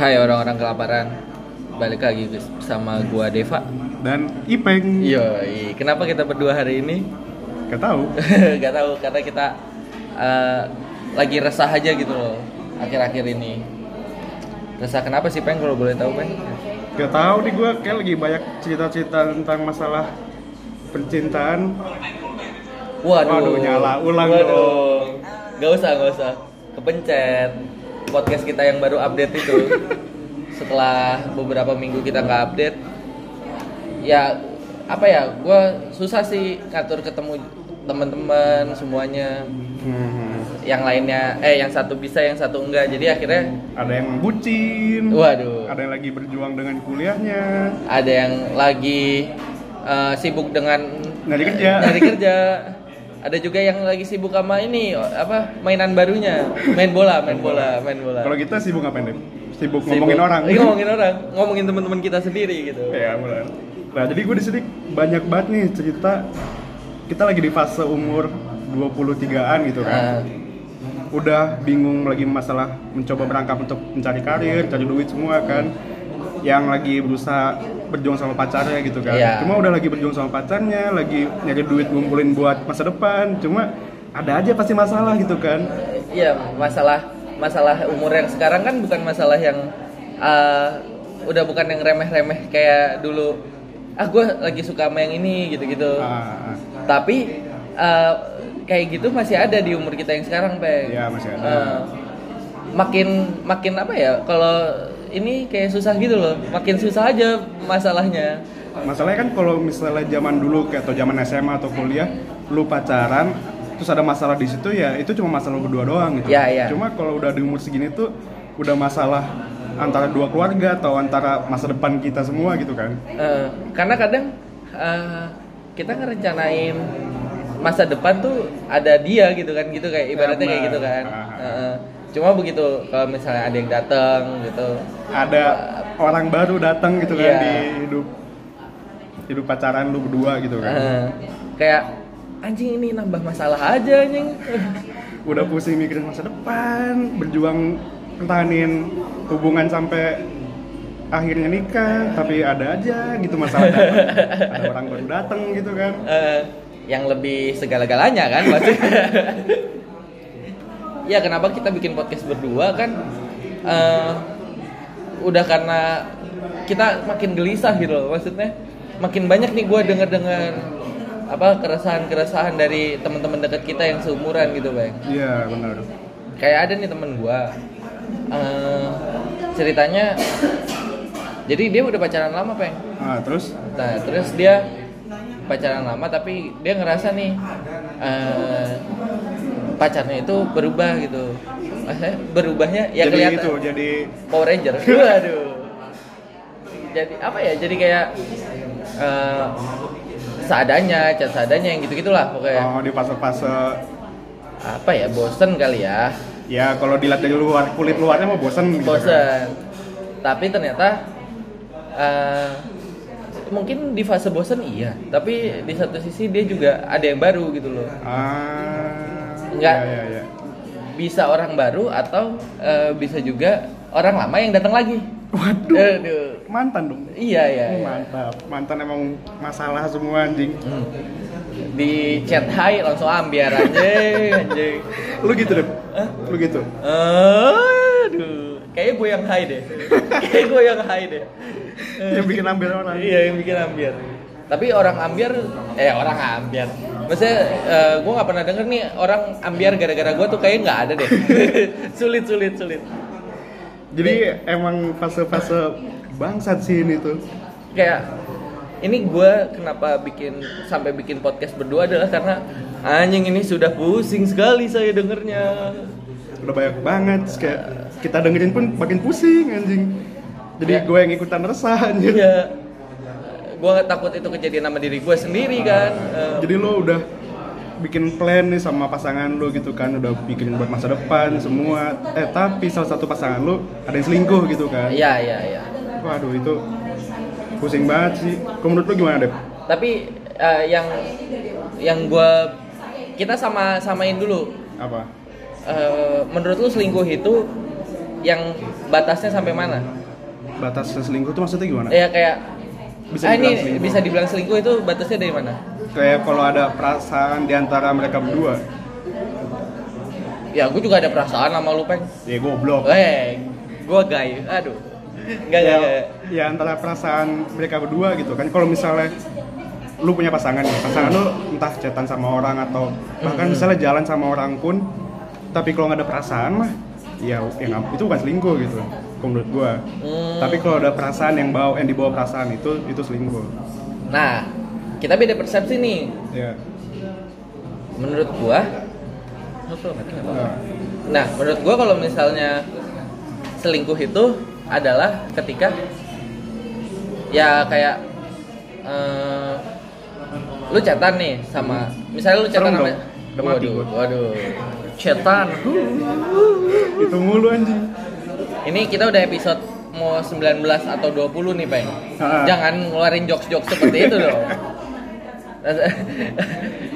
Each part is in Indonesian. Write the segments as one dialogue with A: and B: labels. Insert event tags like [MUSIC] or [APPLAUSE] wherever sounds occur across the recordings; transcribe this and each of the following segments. A: Hai orang-orang kelaparan Balik lagi sama gua Deva
B: dan Ipeng
A: Yoi, kenapa kita berdua hari ini? [LAUGHS]
B: gak tahu
A: Gak tahu karena kita eh, lagi resah aja gitu loh Akhir-akhir ini Resah kenapa sih Peng kalau boleh tahu Peng?
B: gak tahu nih gue kayak lagi banyak cerita-cerita tentang masalah percintaan
A: Waduh,
B: Waduh, nyala ulang
A: Waduh. Gak usah, gak usah Kepencet Podcast kita yang baru update
B: [LAUGHS]
A: itu Setelah beberapa minggu kita nggak update Ya, apa ya gua susah sih ngatur ketemu teman-teman semuanya
B: Hmm,
A: Yang lainnya, eh yang satu bisa, yang satu enggak Jadi akhirnya,
B: ada yang bucin
A: waduh
B: ada yang lagi berjuang dengan kuliahnya
A: Ada yang lagi eh, sibuk dengan eh,
B: Nyari kerja.
A: nyari kerja. Ada juga yang lagi sibuk sama ini apa mainan barunya, main bola, main bola, main bola.
B: kalau kita sibuk ngapain deh sibuk
A: Sibuk-
B: ngomongin orang
A: Iya,
B: [LAUGHS]
A: ngomongin orang, ngomongin teman-teman kita sendiri gitu.
B: ya benar nah jadi gue di sini banyak banget nih cerita kita lagi di fase umur 23-an gitu kan
A: Nah,
B: udah bingung lagi masalah mencoba berangkat untuk mencari karir, cari duit semua kan yang lagi berusaha berjuang sama pacarnya gitu kan
A: Iya.
B: cuma udah lagi berjuang sama pacarnya lagi nyari duit ngumpulin buat masa depan cuma ada aja pasti masalah gitu kan
A: iya masalah masalah umur yang sekarang kan bukan masalah yang eh, udah bukan yang remeh-remeh kayak dulu. Ah gue lagi suka sama yang ini gitu-gitu.
B: Ah,
A: Tapi eh, kayak gitu masih ada di umur kita yang sekarang, Peng.
B: Iya, masih ada.
A: Eh, makin makin apa ya? Kalau ini kayak susah gitu loh. Makin susah aja masalahnya.
B: masalahnya kan kalau misalnya zaman dulu kayak atau zaman SMA atau kuliah lu pacaran terus ada masalah di situ ya itu cuma masalah lu berdua doang gitu
A: Iya, iya.
B: cuma kalau udah di umur segini tuh udah masalah antara dua keluarga atau antara masa depan kita semua gitu kan
A: Eh, karena kadang eh, kita ngerencanain masa depan tuh ada dia gitu kan gitu kayak ibaratnya kayak gitu kan.
B: Aha.
A: Eh, cuma begitu kalau misalnya ada yang datang gitu
B: ada orang baru datang gitu kan
A: Iya.
B: di hidup hidup pacaran lu berdua gitu kan
A: Eh, kayak anjing ini nambah masalah aja anjing. [LAUGHS]
B: udah pusing mikirin masa depan berjuang pertahanin hubungan sampai akhirnya nikah tapi ada aja gitu
A: [LAUGHS]
B: masalah datang. ada orang baru datang gitu kan
A: eh yang lebih segala-galanya kan pasti. ya kenapa kita bikin podcast berdua kan eh, udah karena kita makin gelisah gitu loh maksudnya makin banyak nih gue denger-dengar apa keresahan-keresahan dari teman-teman dekat kita yang seumuran gitu bang
B: iya benar
A: kayak ada nih temen gua eh, ceritanya jadi dia udah pacaran lama peng
B: ah terus
A: Nah, terus dia pacaran lama tapi dia ngerasa nih eh, pacarnya itu berubah gitu. Maksudnya berubahnya ya
B: jadi gitu.
A: kelihatan
B: itu jadi
A: Power
B: [LAUGHS]
A: Ranger. Waduh. Jadi apa ya? Jadi kayak eh, seadanya, cat seadanya yang gitu-gitulah pokoknya.
B: oh, di fase-fase
A: Apa ya? Bosen kali ya.
B: ya kalau dilihat dari luar kulit luarnya mau bosen gitu kan.
A: bosen tapi ternyata eh, mungkin di fase bosen iya tapi di satu sisi dia juga ada yang baru gitu loh
B: ah
A: Enggak.
B: ya, ya, ya.
A: bisa orang baru atau eh, bisa juga orang lama yang datang lagi
B: waduh
A: Aduh.
B: mantan dong
A: iya iya,
B: Oh,
A: iya.
B: mantap mantan emang masalah semua anjing
A: Hmm. di chat high langsung ambiar anjing anjing
B: lu gitu deh lu gitu
A: aduh kayaknya gue yang high deh kayaknya gue yang high deh
B: yang bikin ambil orang
A: Iya yang bikin ambiar. Tapi orang ambiar, eh orang ambiar. Maksudnya eh, gue nggak pernah denger nih orang ambiar gara-gara gue tuh kayaknya nggak ada deh. [LAUGHS] sulit sulit sulit. Iya.
B: jadi emang fase-fase bangsat sih ini tuh
A: Kayak ini gue kenapa bikin sampai bikin podcast berdua adalah karena anjing ini sudah pusing sekali saya dengernya.
B: udah banyak banget terus kayak kita dengerin pun makin pusing anjing
A: Iya.
B: jadi gue yang ikutan resah anjir
A: Iya. Gue takut itu kejadian sama diri gue sendiri kan. Eh,
B: jadi lo udah bikin plan nih sama pasangan lo gitu kan udah bikin buat masa depan semua eh tapi salah satu pasangan lo ada yang selingkuh gitu kan
A: Iya iya iya.
B: waduh itu pusing banget sih Kalau menurut lo gimana deh
A: Tapi eh, yang yang gue kita sama samain dulu
B: apa
A: Eh, menurut lu selingkuh itu yang batasnya sampai mana?
B: Batas selingkuh tuh maksudnya gimana?
A: Ya kayak
B: Bisa
A: ah, ini
B: dibilang selingkuh.
A: bisa dibilang selingkuh itu batasnya dari mana?
B: Kayak kalau ada perasaan di antara mereka berdua,
A: Ya gue juga ada perasaan sama lu peng.
B: ya goblok.
A: Eh, gue gay. Aduh, nggak nggak.
B: Ya,
A: nggak.
B: ya antara perasaan mereka berdua gitu kan. Kalau misalnya lu punya pasangan nih, pasangan lu entah chatan sama orang atau bahkan misalnya jalan sama orang pun, tapi kalau nggak ada perasaan mah, ya, ya nggak- itu bukan selingkuh gitu. kalau Menurut gua.
A: Hmm.
B: Tapi kalau ada perasaan yang bawa yang dibawa perasaan itu itu selingkuh.
A: Nah, kita beda persepsi nih.
B: Ya.
A: Menurut gua, Oh, belum, nggak apa-apa.
B: Nah,
A: Nah, menurut gua kalau misalnya selingkuh itu adalah ketika ya kayak eh, lu cetan nih sama misalnya lu cetan
B: Serem
A: sama
B: dong. Udah mati
A: waduh
B: gua.
A: waduh cetan
B: itu mulu anjing.
A: ini kita udah episode mau 19 atau 20 nih peng
B: Ah.
A: jangan ngeluarin jokes jokes seperti itu
B: [LAUGHS]
A: dong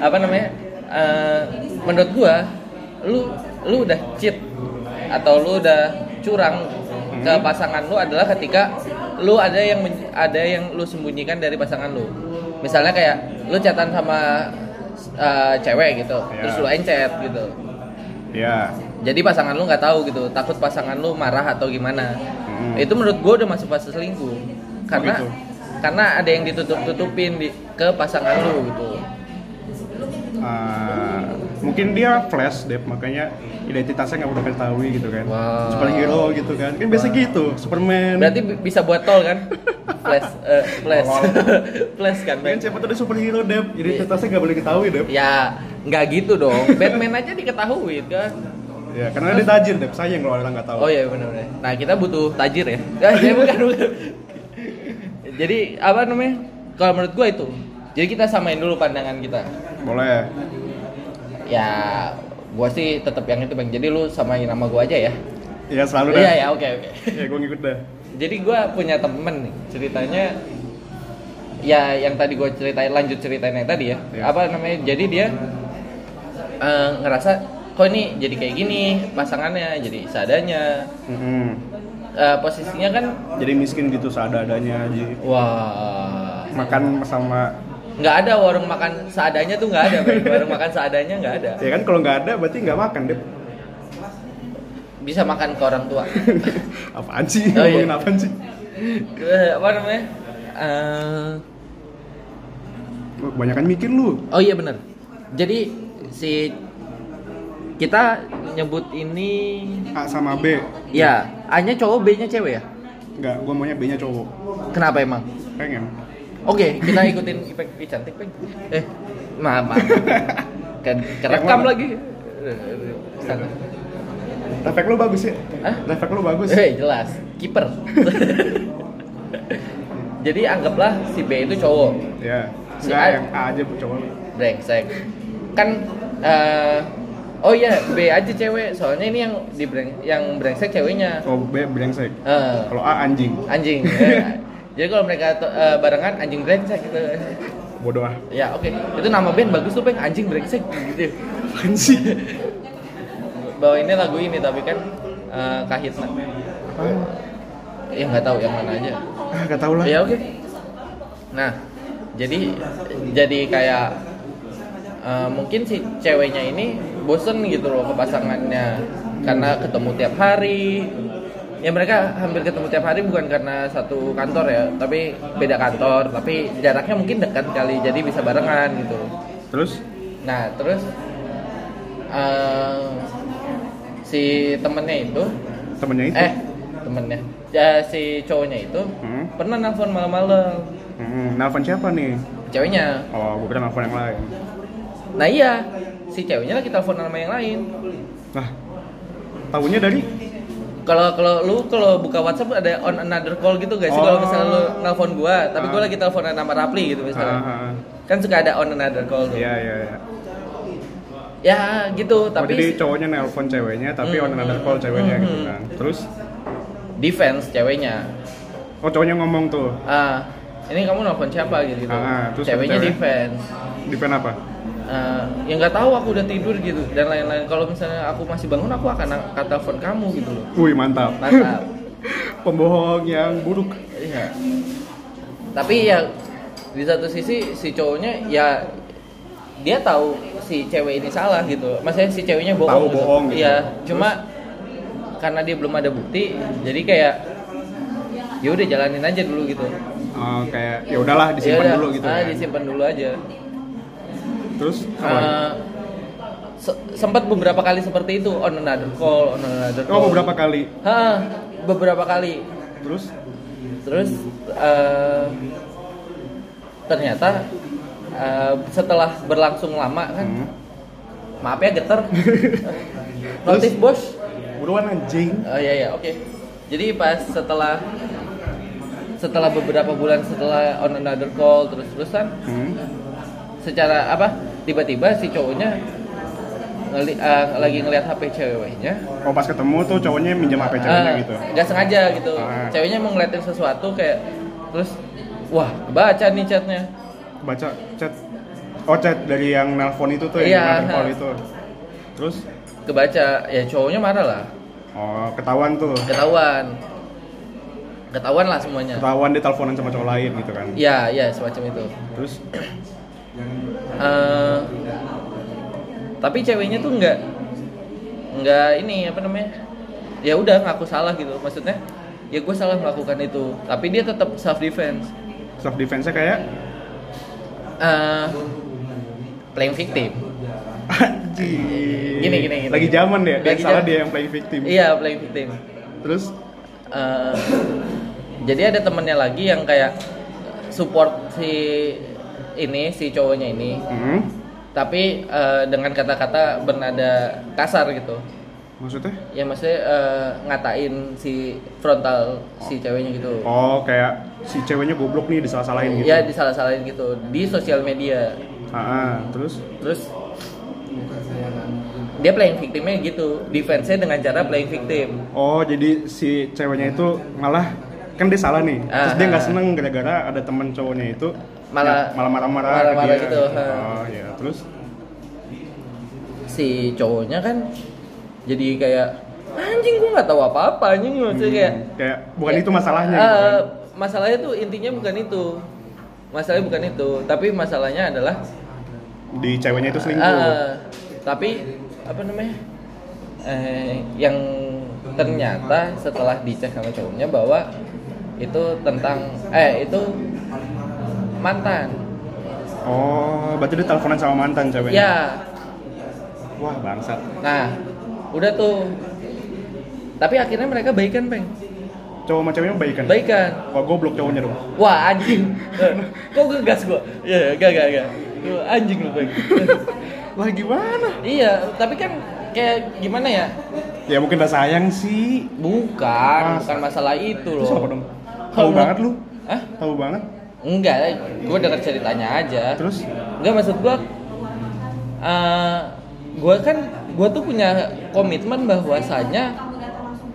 A: apa namanya Eh, menurut gua lu lu udah cheat atau lu udah curang ke
B: Hmm.
A: pasangan lu adalah ketika lu ada yang men- ada yang lu sembunyikan dari pasangan lu misalnya kayak lu chatan sama eh, cewek gitu
B: Ya.
A: terus lu encet gitu
B: Ya.
A: jadi pasangan lu nggak tahu gitu takut pasangan lu marah atau gimana
B: Hmm.
A: itu menurut gue udah masuk fase selingkuh karena
B: gitu.
A: karena ada yang ditutup tutupin di, ke pasangan lu gitu
B: Ah, mungkin dia flash deh makanya identitasnya nggak udah ketahui gitu kan
A: Wow.
B: superhero gitu kan kan biasa gitu Superman
A: berarti bi- bisa buat tol
B: [LAUGHS]
A: kan flash eh, flash
B: Tolol.
A: [LAUGHS] flash kan
B: kan
A: Bang?
B: siapa tahu dia superhero deh
A: Iya.
B: identitasnya nggak boleh ketahui deh
A: ya nggak gitu dong Batman aja diketahui kan
B: ya karena dia tajir deh sayang kalau orang nggak tahu
A: oh iya benar benar nah kita butuh tajir ya [LAUGHS] Eh, ya, bukan, bukan. jadi apa namanya kalau menurut gue itu jadi kita samain dulu pandangan kita
B: boleh
A: ya gua sih tetap yang itu bang jadi lu samain nama gua aja ya
B: ya selalu dah
A: iya ya oke oke
B: ya gue ngikut dah
A: jadi gua punya temen nih ceritanya ya yang tadi gua ceritain lanjut ceritain yang tadi ya
B: Iya.
A: apa namanya jadi dia eh, ngerasa kok ini jadi kayak gini pasangannya jadi seadanya
B: Mm-mm.
A: Eh, posisinya kan
B: jadi miskin gitu seada-adanya aja
A: wah
B: makan sama
A: nggak ada warung makan seadanya tuh nggak ada Bang. warung makan seadanya nggak ada
B: ya kan kalau nggak ada berarti nggak makan deh
A: bisa makan ke orang tua
B: [LAUGHS] apaan sih
A: Oh, iya.
B: ngomongin apaan sih
A: Eh, apa namanya Eh,
B: Wah, kebanyakan mikir lu
A: Oh iya benar. Jadi si kita nyebut ini
B: A sama B
A: ya A-nya cowok, B-nya cewek ya?
B: nggak gue maunya B nya cowok
A: Kenapa emang?
B: pengen
A: Oke, kita [LAUGHS] ikutin Ipeng. Ih, cantik, Peng. Eh, mama. [LAUGHS] Kan kerekam
B: Yang mana?
A: lagi. Sana.
B: Reflek lu bagus ya?
A: Hah?
B: Reflek lu bagus.
A: Eh, jelas. Kiper. [LAUGHS] Jadi anggaplah si B itu cowok.
B: Ya.
A: Si
B: Enggak
A: A-
B: yang A aja bu cowok.
A: Brengsek. Kan eh, Oh iya, B aja cewek. Soalnya ini yang di breng- yang brengsek ceweknya.
B: Oh, B brengsek.
A: Eh,
B: Kalau A anjing.
A: anjing. ya. Jadi kalau mereka to- eh, barengan anjing brengsek gitu.
B: Bodoh ah.
A: Ya oke, itu nama band bagus tuh peng anjing brengsek gitu.
B: Apaan sih?
A: Bawa ini lagu ini tapi kan eh, kahitna.
B: Apaan?
A: Ya nggak tahu yang mana aja.
B: Ah, enggak Ah, tahu lah.
A: Ya oke. Nah, jadi jadi kayak eh, mungkin si ceweknya ini bosen gitu loh ke pasangannya karena ketemu tiap hari. Ya mereka hampir ketemu tiap hari bukan karena satu kantor ya, tapi beda kantor, tapi jaraknya mungkin dekat kali jadi bisa barengan gitu.
B: Terus
A: Nah, terus eh, si temennya itu
B: temennya itu.
A: eh temennya ya, si cowoknya itu
B: Hmm.
A: pernah nelfon malam-malam
B: Hmm, nelfon siapa nih?
A: ceweknya
B: Oh, gue kira nelfon yang lain.
A: nah iya si ceweknya lagi telepon sama yang lain
B: Nah, tahunya dari
A: kalau kalau lu kalau buka WhatsApp ada on another call gitu guys sih kalau
B: Oh.
A: misalnya lu nelpon gua tapi gua
B: Ah.
A: lagi teleponan sama Rapli gitu misalnya
B: Ah, ah.
A: kan suka ada on another call tuh
B: Iya, iya, iya.
A: ya gitu
B: Tapi
A: tapi
B: jadi
A: si-
B: cowoknya nelpon ceweknya, tapi
A: Hmm.
B: on another call ceweknya gitu
A: Hmm.
B: kan. Terus
A: defense ceweknya
B: oh cowoknya ngomong tuh.
A: ah ini kamu nelfon siapa gitu,
B: Ah, ah, terus
A: ceweknya
B: cewek.
A: defense
B: Di pen apa?
A: Eh, yang nggak tahu aku udah tidur gitu dan lain-lain kalau misalnya aku masih bangun aku akan angkat telepon kamu gitu loh
B: Wih, mantap.
A: mantap
B: [LAUGHS] pembohong yang buruk
A: Iya. Tapi ya di satu sisi si cowoknya ya dia tahu si cewek ini salah gitu. Maksudnya si ceweknya bohong.
B: Tahu
A: gitu.
B: bohong gitu.
A: Iya, cuma karena dia belum ada bukti, jadi kayak ya udah jalanin aja dulu gitu.
B: Eh, kayak ya udahlah disimpan
A: Yaudah,
B: dulu gitu
A: ah,
B: kan.
A: disimpan dulu aja.
B: terus apa lagi?
A: Eh, se- sempat beberapa kali seperti itu on another call, on another call.
B: oh beberapa kali
A: Hah, beberapa kali.
B: terus
A: Terus eh, ternyata eh, setelah berlangsung lama kan,
B: hmm.
A: maaf ya
B: [LAUGHS]
A: geter. Notif bos.
B: buruan anjing
A: Oh iya iya oke. Jadi pas setelah setelah beberapa bulan setelah on another call terus terusan
B: hmm.
A: secara apa tiba-tiba si cowoknya ngeli- eh, lagi ngelihat HP ceweknya
B: oh pas ketemu tuh cowoknya minjem hp ceweknya
A: Ah,
B: gitu
A: nggak sengaja gitu
B: Ah.
A: ceweknya mau ngeliatin sesuatu kayak terus wah baca nih chatnya
B: baca chat oh chat dari yang nelpon itu tuh
A: Iya,
B: yang nelpon
A: ha.
B: itu terus
A: kebaca ya cowoknya marah lah
B: oh ketahuan tuh
A: ketahuan ketahuan lah semuanya
B: ketahuan dia teleponan sama cowok lain gitu kan
A: ya ya semacam itu
B: terus
A: Eh, tapi ceweknya tuh nggak nggak ini apa namanya ya udah ngaku salah gitu maksudnya ya gue salah melakukan itu tapi dia tetap self defense
B: self defense nya kayak
A: Eh, playing victim
B: anjing
A: Gini, gini, gini.
B: lagi zaman ya dia
A: Lagi
B: salah
A: zaman.
B: dia yang play victim
A: iya playing victim
B: terus
A: Eh, jadi ada temennya lagi yang kayak support si ini si cowoknya ini
B: hmm,
A: tapi eh, dengan kata-kata bernada kasar gitu
B: maksudnya
A: ya maksudnya eh, ngatain si frontal si ceweknya gitu
B: oh kayak si ceweknya goblok nih disalah-salahin gitu
A: ya disalah-salahin gitu di sosial media
B: Ah, terus
A: terus dia playing victimnya gitu defense-nya dengan cara playing victim
B: oh jadi si ceweknya itu malah kan dia salah nih terus dia
A: Ah,
B: nggak
A: ah.
B: seneng gara-gara ada teman cowoknya itu
A: Malah-
B: ya, malah marah-marah ke
A: marah-marah
B: dia.
A: gitu, ha.
B: oh ya terus
A: si cowoknya kan jadi kayak anjing gua nggak tahu apa-apa anjing maksudnya
B: hmm,
A: kayak
B: kayak bukan itu masalahnya
A: Eh,
B: gitu kan.
A: masalahnya tuh intinya bukan itu masalahnya bukan itu tapi masalahnya adalah
B: di ceweknya itu selingkuh
A: eh, tapi apa namanya eh, yang ternyata setelah dicek sama cowoknya bahwa itu tentang eh itu mantan
B: oh berarti dia teleponan sama mantan ceweknya
A: ya
B: wah bangsat
A: nah udah tuh tapi akhirnya mereka baikan peng
B: cowok sama ceweknya baikan
A: baikan
B: wah goblok cowoknya dong
A: Wah anjing. Eh, Kok ngegas gua? Iya, gak gak gak. Lu Anjing lu Bang.
B: lah gimana
A: iya, tapi kan kayak gimana ya?
B: ya mungkin udah sayang sih
A: Bukan, bukan masalah itu
B: terus apa dong
A: loh.
B: tahu
A: Kalau-
B: banget lu
A: Hah?
B: tahu banget
A: Enggak, gua denger ceritanya aja.
B: terus
A: Enggak maksud gua eh gua kan gua tuh punya komitmen bahwasanya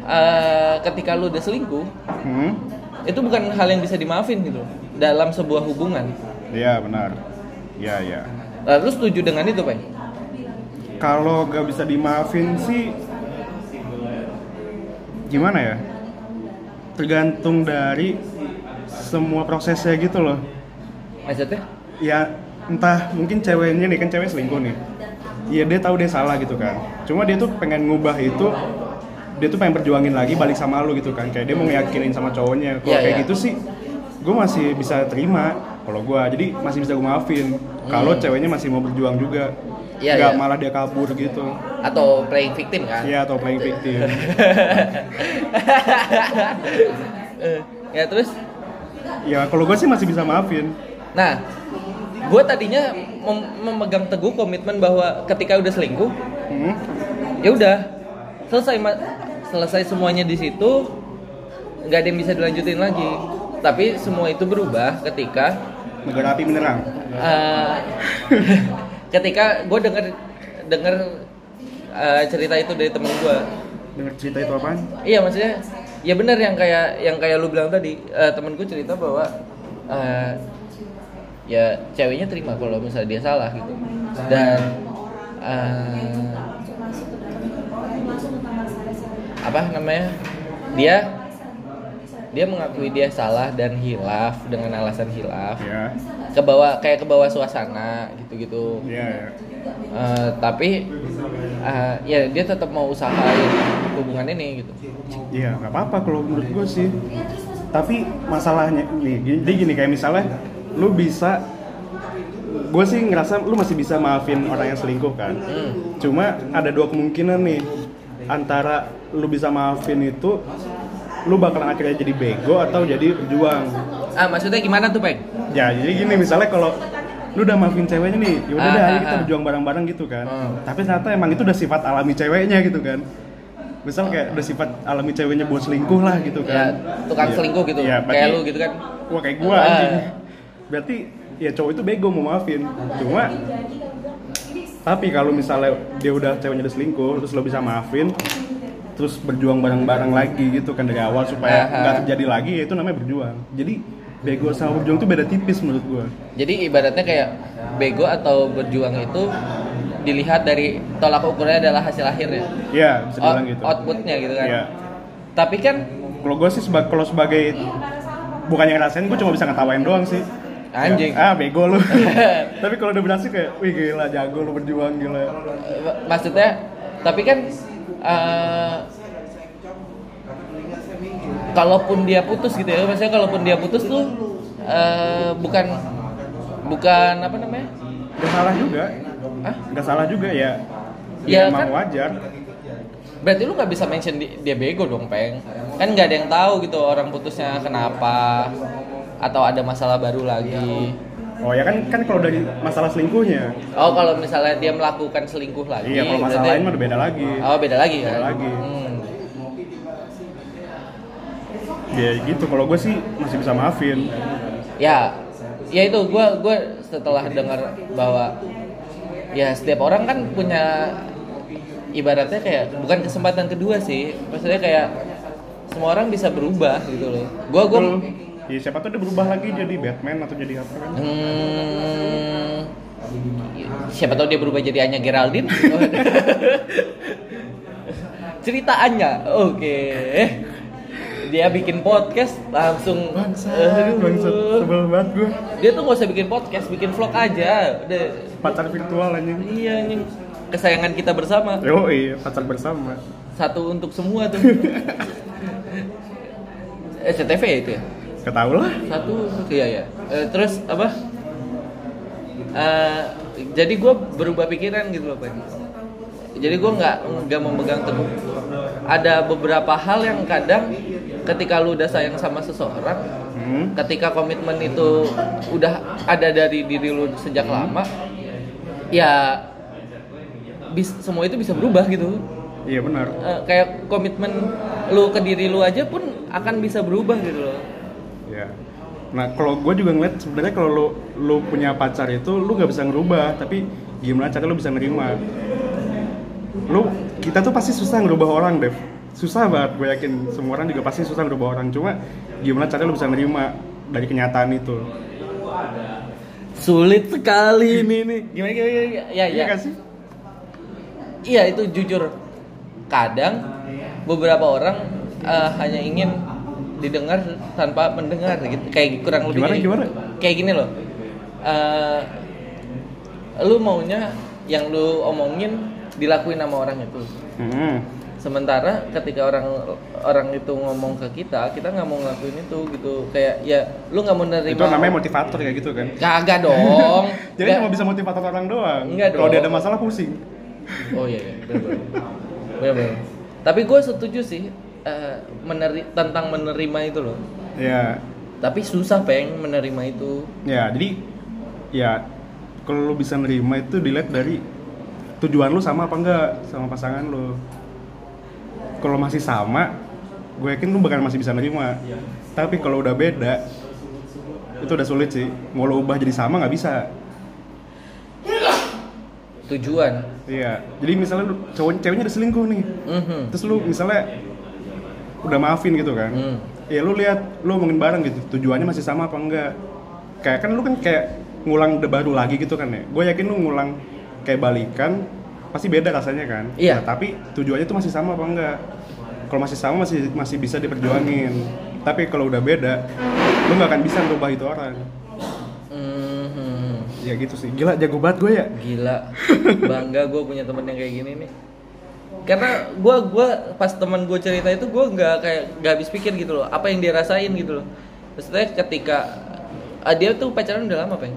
A: eh ketika lu udah selingkuh,
B: hmm
A: itu bukan hal yang bisa dimaafin gitu dalam sebuah hubungan.
B: iya benar iya iya
A: Lalu setuju dengan itu, Pak?
B: kalau gak bisa dimaafin sih gimana ya tergantung dari semua prosesnya gitu loh
A: Maksudnya?
B: ya entah mungkin ceweknya nih kan cewek selingkuh nih ya dia tahu dia salah gitu kan cuma dia tuh pengen ngubah itu dia tuh pengen perjuangin lagi balik sama lu gitu kan kayak dia mau ngeyakinin sama cowoknya kalau
A: Iya,
B: kayak
A: iya.
B: gitu sih gue masih bisa terima kalau gue jadi masih bisa gue maafin kalau ceweknya masih mau berjuang juga
A: Hmm. Iya,
B: nggak
A: iya.
B: malah dia kabur gitu
A: atau playing victim kan?
B: Iya atau playing victim
A: Eh, [LAUGHS] ya terus,
B: ya kalau gue sih masih bisa maafin
A: nah, gue tadinya mem- memegang teguh komitmen bahwa ketika udah selingkuh,
B: hmm.
A: ya udah selesai ma- selesai semuanya di situ, nggak ada yang bisa dilanjutin lagi. Tapi semua itu berubah ketika
B: negara api menerang
A: eh, [LAUGHS] ketika gue denger denger eh, cerita itu dari temen gue.
B: dengar cerita itu apaan
A: Iya maksudnya ya benar yang kayak yang kayak lu bilang tadi Eh, temen gue cerita bahwa eh, ya ceweknya terima kalau misalnya dia salah gitu dan eh, apa namanya dia dia mengakui dia salah dan hilaf dengan alasan hilaf
B: ya
A: ke bawah kayak ke bawah suasana gitu-gitu
B: ya ya.
A: Eh, tapi eh, ya dia tetap mau usaha hubungan ini gitu
B: Iya, nggak apa-apa kalau menurut gue sih. Tapi masalahnya nih, gini, jadi gini kayak misalnya lu bisa gue sih ngerasa lu masih bisa maafin orang yang selingkuh kan.
A: Hmm.
B: Cuma ada dua kemungkinan nih antara lu bisa maafin itu lu bakalan akhirnya jadi bego atau jadi berjuang.
A: ah maksudnya gimana tuh peng
B: Ya, jadi gini misalnya kalau lu udah maafin ceweknya nih, yaudah
A: Ah,
B: deh, ayo
A: ah,
B: kita
A: ah.
B: berjuang bareng-bareng gitu kan.
A: Hmm.
B: Tapi ternyata emang itu udah sifat alami ceweknya gitu kan. Misal kayak udah sifat alami ceweknya buat selingkuh lah gitu
A: ya
B: kan.
A: tukang
B: Iya.
A: selingkuh gitu
B: Iya,
A: kayak
B: berarti-
A: lu gitu kan
B: Wah kayak gua
A: Ah.
B: anjing. Berarti ya cowok itu bego mau maafin. Cuma tapi kalau misalnya dia udah ceweknya udah selingkuh, terus lo bisa maafin, terus berjuang bareng-bareng lagi gitu kan dari awal supaya
A: Aha.
B: nggak terjadi lagi ya itu namanya berjuang. Jadi bego sama berjuang itu beda tipis menurut gua.
A: jadi ibaratnya kayak bego atau berjuang itu dilihat dari tolak ukurnya adalah hasil akhirnya
B: Ya, bisa
A: Out-
B: bilang gitu.
A: outputnya gitu kan
B: Iya.
A: tapi kan
B: Kalau gue sih seba- kalau sebagai bukan yang ngerasain, gue cuma bisa ngetawain doang sih.
A: Anjing.
B: Ya, ah, bego
A: [LAUGHS]
B: lu. Tapi kalau udah berhasil kayak, wih gila jago lu berjuang gila.
A: eh, maksudnya tapi kan eh, kalaupun dia putus gitu ya maksudnya kalaupun dia putus tuh eh, bukan bukan apa namanya
B: Gak salah juga.
A: Hah?
B: Gak salah juga ya.
A: Ya,
B: Ya, emang
A: kan?
B: wajar.
A: Berarti lu nggak bisa mention di- dia bego dong, Peng. Kan nggak ada yang tahu gitu orang putusnya kenapa atau ada masalah baru lagi.
B: Oh ya kan kan kalau dari masalah selingkuhnya.
A: Oh, kalau misalnya dia melakukan selingkuh lagi.
B: Iya, kalau masalah
A: berarti-
B: lain mah udah beda lagi.
A: Oh, beda lagi ya.
B: Beda lagi.
A: Hmm.
B: Ya gitu, kalau gue sih masih bisa maafin.
A: Ya, ya itu gua gua setelah dengar bahwa ya setiap orang kan punya ibaratnya kayak bukan kesempatan kedua sih. Maksudnya kayak semua orang bisa berubah gitu loh. Gua gua
B: Betul. Ya, siapa tuh dia berubah lagi jadi Batman atau jadi apa kan?
A: Hmm, siapa tahu dia berubah jadi Anya Geraldine. [LAUGHS] Cerita Anya, oke. Dia bikin podcast langsung.
B: Bangsat,
A: Aduh.
B: bangsat, sebel banget gue.
A: Dia tuh nggak usah bikin podcast, bikin vlog aja. Udah.
B: Pacar virtual anjing.
A: Iya, anjing. kesayangan kita bersama.
B: Yo, iya, pacar bersama.
A: Satu untuk semua
B: [LAUGHS]
A: tuh. SCTV ya itu ya?
B: Ketahu lah.
A: satu iya ya Eh, terus apa Eh, jadi gue berubah pikiran gitu loh Pak jadi gue nggak nggak memegang teguh ada beberapa hal yang kadang ketika lu udah sayang sama seseorang
B: Hmm.
A: ketika komitmen itu udah ada dari diri lu sejak lama ya bis- semua itu bisa berubah gitu
B: Iya benar.
A: Eh, kayak komitmen lu ke diri lu aja pun akan bisa berubah gitu loh
B: Iya. Nah, kalau gue juga ngeliat sebenarnya kalau lu lu punya pacar itu lu nggak bisa ngerubah, tapi gimana cara lu bisa nerima? Lu kita tuh pasti susah ngerubah orang, Dev. Susah banget, gue yakin semua orang juga pasti susah ngerubah orang. Cuma gimana cara lu bisa nerima dari kenyataan itu?
A: sulit sekali ini nih gimana gimana, gimana? ya ya
B: Iya nggak sih?
A: iya itu jujur kadang beberapa orang eh, hanya ingin didengar tanpa mendengar gitu kayak kurang lebih
B: Gimana,
A: gini.
B: gimana?
A: kayak gini loh Eh, lu maunya yang lu omongin dilakuin sama orang itu
B: Hmm.
A: sementara ketika orang orang itu ngomong ke kita kita nggak mau ngelakuin itu gitu kayak ya lu nggak mau nerima
B: Itu namanya motivator kayak gitu kan.
A: kagak dong
B: [LAUGHS] Jadi
A: Nggak-
B: cuma bisa motivator orang doang.
A: Nggak
B: Kalau dia
A: dong.
B: ada masalah pusing.
A: Oh iya, iya. benar-benar. Benar-benar. Tapi gue setuju sih eh, meneri- tentang menerima itu loh.
B: Ya,
A: Tapi susah peng menerima itu.
B: Ya, jadi ya kalau lu bisa nerima itu dilihat dari tujuan lu sama apa enggak sama pasangan lu. Kalau masih sama, gue yakin lu bakal masih bisa nerima. Tapi kalau udah beda, itu udah sulit sih. Mau lu ubah jadi sama nggak bisa.
A: Tujuan.
B: Iya. Jadi misalnya lu cowok ceweknya udah selingkuh nih,
A: Mhm.
B: terus lu misalnya udah maafin gitu kan.
A: Hmm.
B: ya lu lihat lu omongin bareng gitu tujuannya masih sama apa enggak kayak kan lu kan kayak ngulang de baru lagi gitu kan ya gue yakin lu ngulang kayak balikan pasti beda rasanya kan
A: Iya.
B: Nah, tapi tujuannya tuh masih sama apa enggak kalau masih sama masih masih bisa diperjuangin tapi kalau udah beda lu nggak akan bisa ngerubah itu orang
A: Mhm.
B: ya gitu sih gila jago banget gue ya
A: Gila, bangga gue punya temen yang kayak gini nih. Karena gue gua pas temen gue cerita itu gue nggak kayak nggak habis pikir gitu loh. Apa yang dia rasain gitu loh. Maksudnya ketika ah, dia tuh pacaran udah lama peng,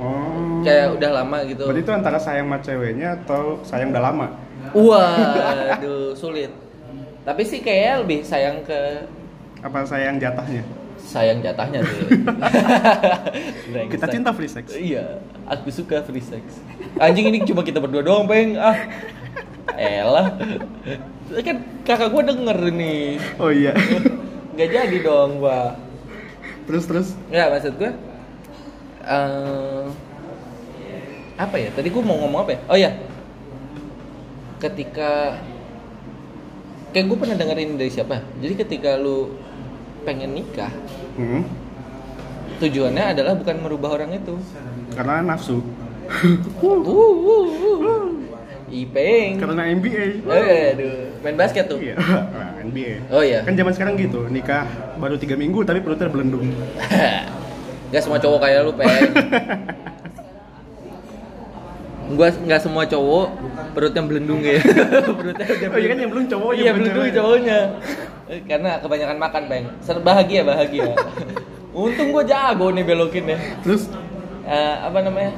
B: oh
A: kayak udah lama gitu.
B: berarti itu antara sayang sama ceweknya atau sayang udah lama
A: Waduh sulit. Tapi sih kayaknya lebih sayang ke
B: apa sayang jatahnya
A: sayang jatahnya sih.
B: [LAUGHS]
A: Brengsek.
B: kita cinta free sex
A: Iya, aku suka free sex. Anjing ini cuma kita berdua doang, Peng. Ah. Elah. Kan kakak gua denger nih.
B: oh iya [LAUGHS]
A: Gak jadi dong gua.
B: terus terus
A: Enggak, maksud gua eh, apa ya? Tadi gua mau ngomong apa ya? Oh iya. Ketika kayak gua pernah dengerin dari siapa? Jadi ketika lu pengen nikah,
B: hmm,
A: tujuannya adalah bukan merubah orang itu.
B: karena nafsu
A: Uh, uh, uh. Ipeng.
B: karena MBA
A: Eh, aduh, main basket tuh.
B: Iya, nah, NBA.
A: Oh iya.
B: Kan zaman sekarang gitu, nikah baru tiga minggu tapi perutnya belendung.
A: Gak semua cowok kayak lu, Peng. Gua nggak semua cowok perutnya belendung ya. [LAUGHS] perutnya udah
B: Oh iya kan yang belum cowok kan?
A: iya belendung cowoknya. Eh, Karena kebanyakan makan, Peng. Ser- Bahagia, bahagia. Untung gua jago nih belokin ya.
B: Terus
A: Eh, apa namanya?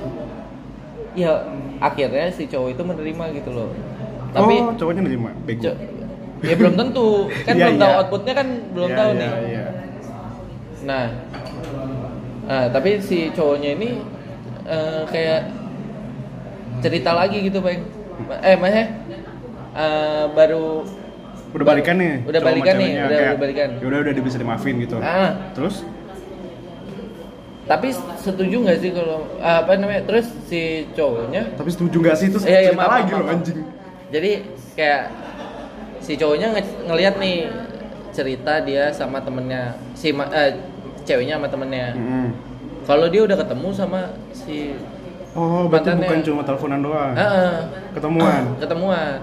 A: Ya akhirnya si cowok itu menerima gitu loh. Tapi
B: oh cowoknya nerima, bego.
A: co- ya belum tentu kan
B: Iya,
A: belum tahu
B: iya.
A: outputnya kan belum
B: Iya,
A: tahu
B: iya,
A: nih.
B: Iya.
A: Nah, nah tapi si cowoknya ini eh, kayak cerita lagi gitu, Bang. Eh, maksudnya eh, baru
B: Udah balikan nih.
A: Udah
B: cowok sama
A: balikan nih,
B: ceweknya,
A: udah-
B: kayak,
A: udah balikan.
B: Ya udah udah bisa dimaafin gitu.
A: Ah,
B: Terus
A: tapi setuju nggak sih kalau ah, apa namanya? Terus si cowoknya
B: tapi setuju nggak sih terus
A: Iya, iya,
B: cerita
A: maaf,
B: lagi
A: maaf,
B: loh
A: maaf.
B: anjing.
A: jadi kayak si cowoknya nge- ngelihat nih cerita dia sama temennya si ma- eh, ceweknya sama temennya.
B: Mm-mm.
A: Kalau dia udah ketemu sama si
B: Oh, berarti
A: Mantannya.
B: bukan cuma teleponan doang.
A: eh, eh,
B: Ketemuan.
A: ketemuan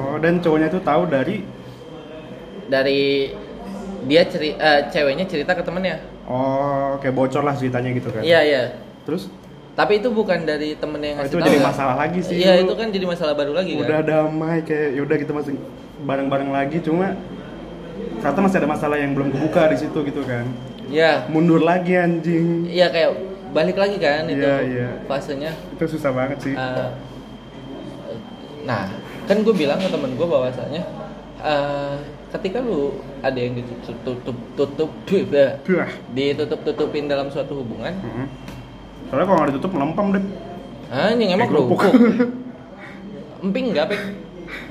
B: Oh, dan cowoknya itu tahu dari
A: dari dia ceri eh, ceweknya cerita ke temennya
B: oh kayak bocor lah ceritanya gitu kan.
A: iya iya
B: Terus
A: tapi itu bukan dari temennya yang
B: oh,
A: ngasih
B: itu
A: tahu,
B: jadi
A: kan?
B: masalah lagi sih.
A: iya
B: lu.
A: itu kan jadi masalah baru lagi
B: udah
A: kan
B: damai kayak yaudah kita masih bareng-bareng lagi cuma ternyata masih ada masalah yang belum kebuka di situ gitu kan
A: iya
B: mundur lagi anjing
A: iya kayak balik lagi kan itu
B: Iya, iya.
A: fasenya
B: itu susah banget sih
A: Eh, nah kan gue bilang ke temen gue bahwasanya eh, ketika lu ada yang ditutup tutup tutup
B: Duh, ah.
A: ditutup tutupin dalam suatu hubungan
B: Mm-mm. soalnya kalau nggak ditutup melempem deh
A: anjing emang
B: Kayak kerupuk.
A: kerupuk emping nggak peng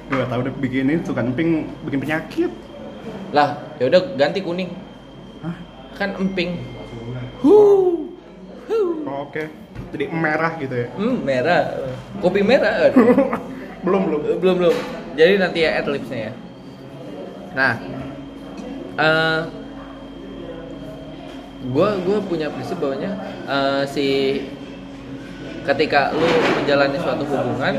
B: gue tau deh bikin itu kan emping bikin penyakit
A: lah ya udah ganti kuning
B: Hah?
A: kan emping hu hu
B: Oh, oke jadi merah gitu ya [LAUGHS]
A: hmm, merah kopi merah Aduh.
B: belum belum
A: belum belum jadi nanti ya adlibsnya ya nah eh gue punya prinsip bahwanya eh, si ketika lu menjalani suatu hubungan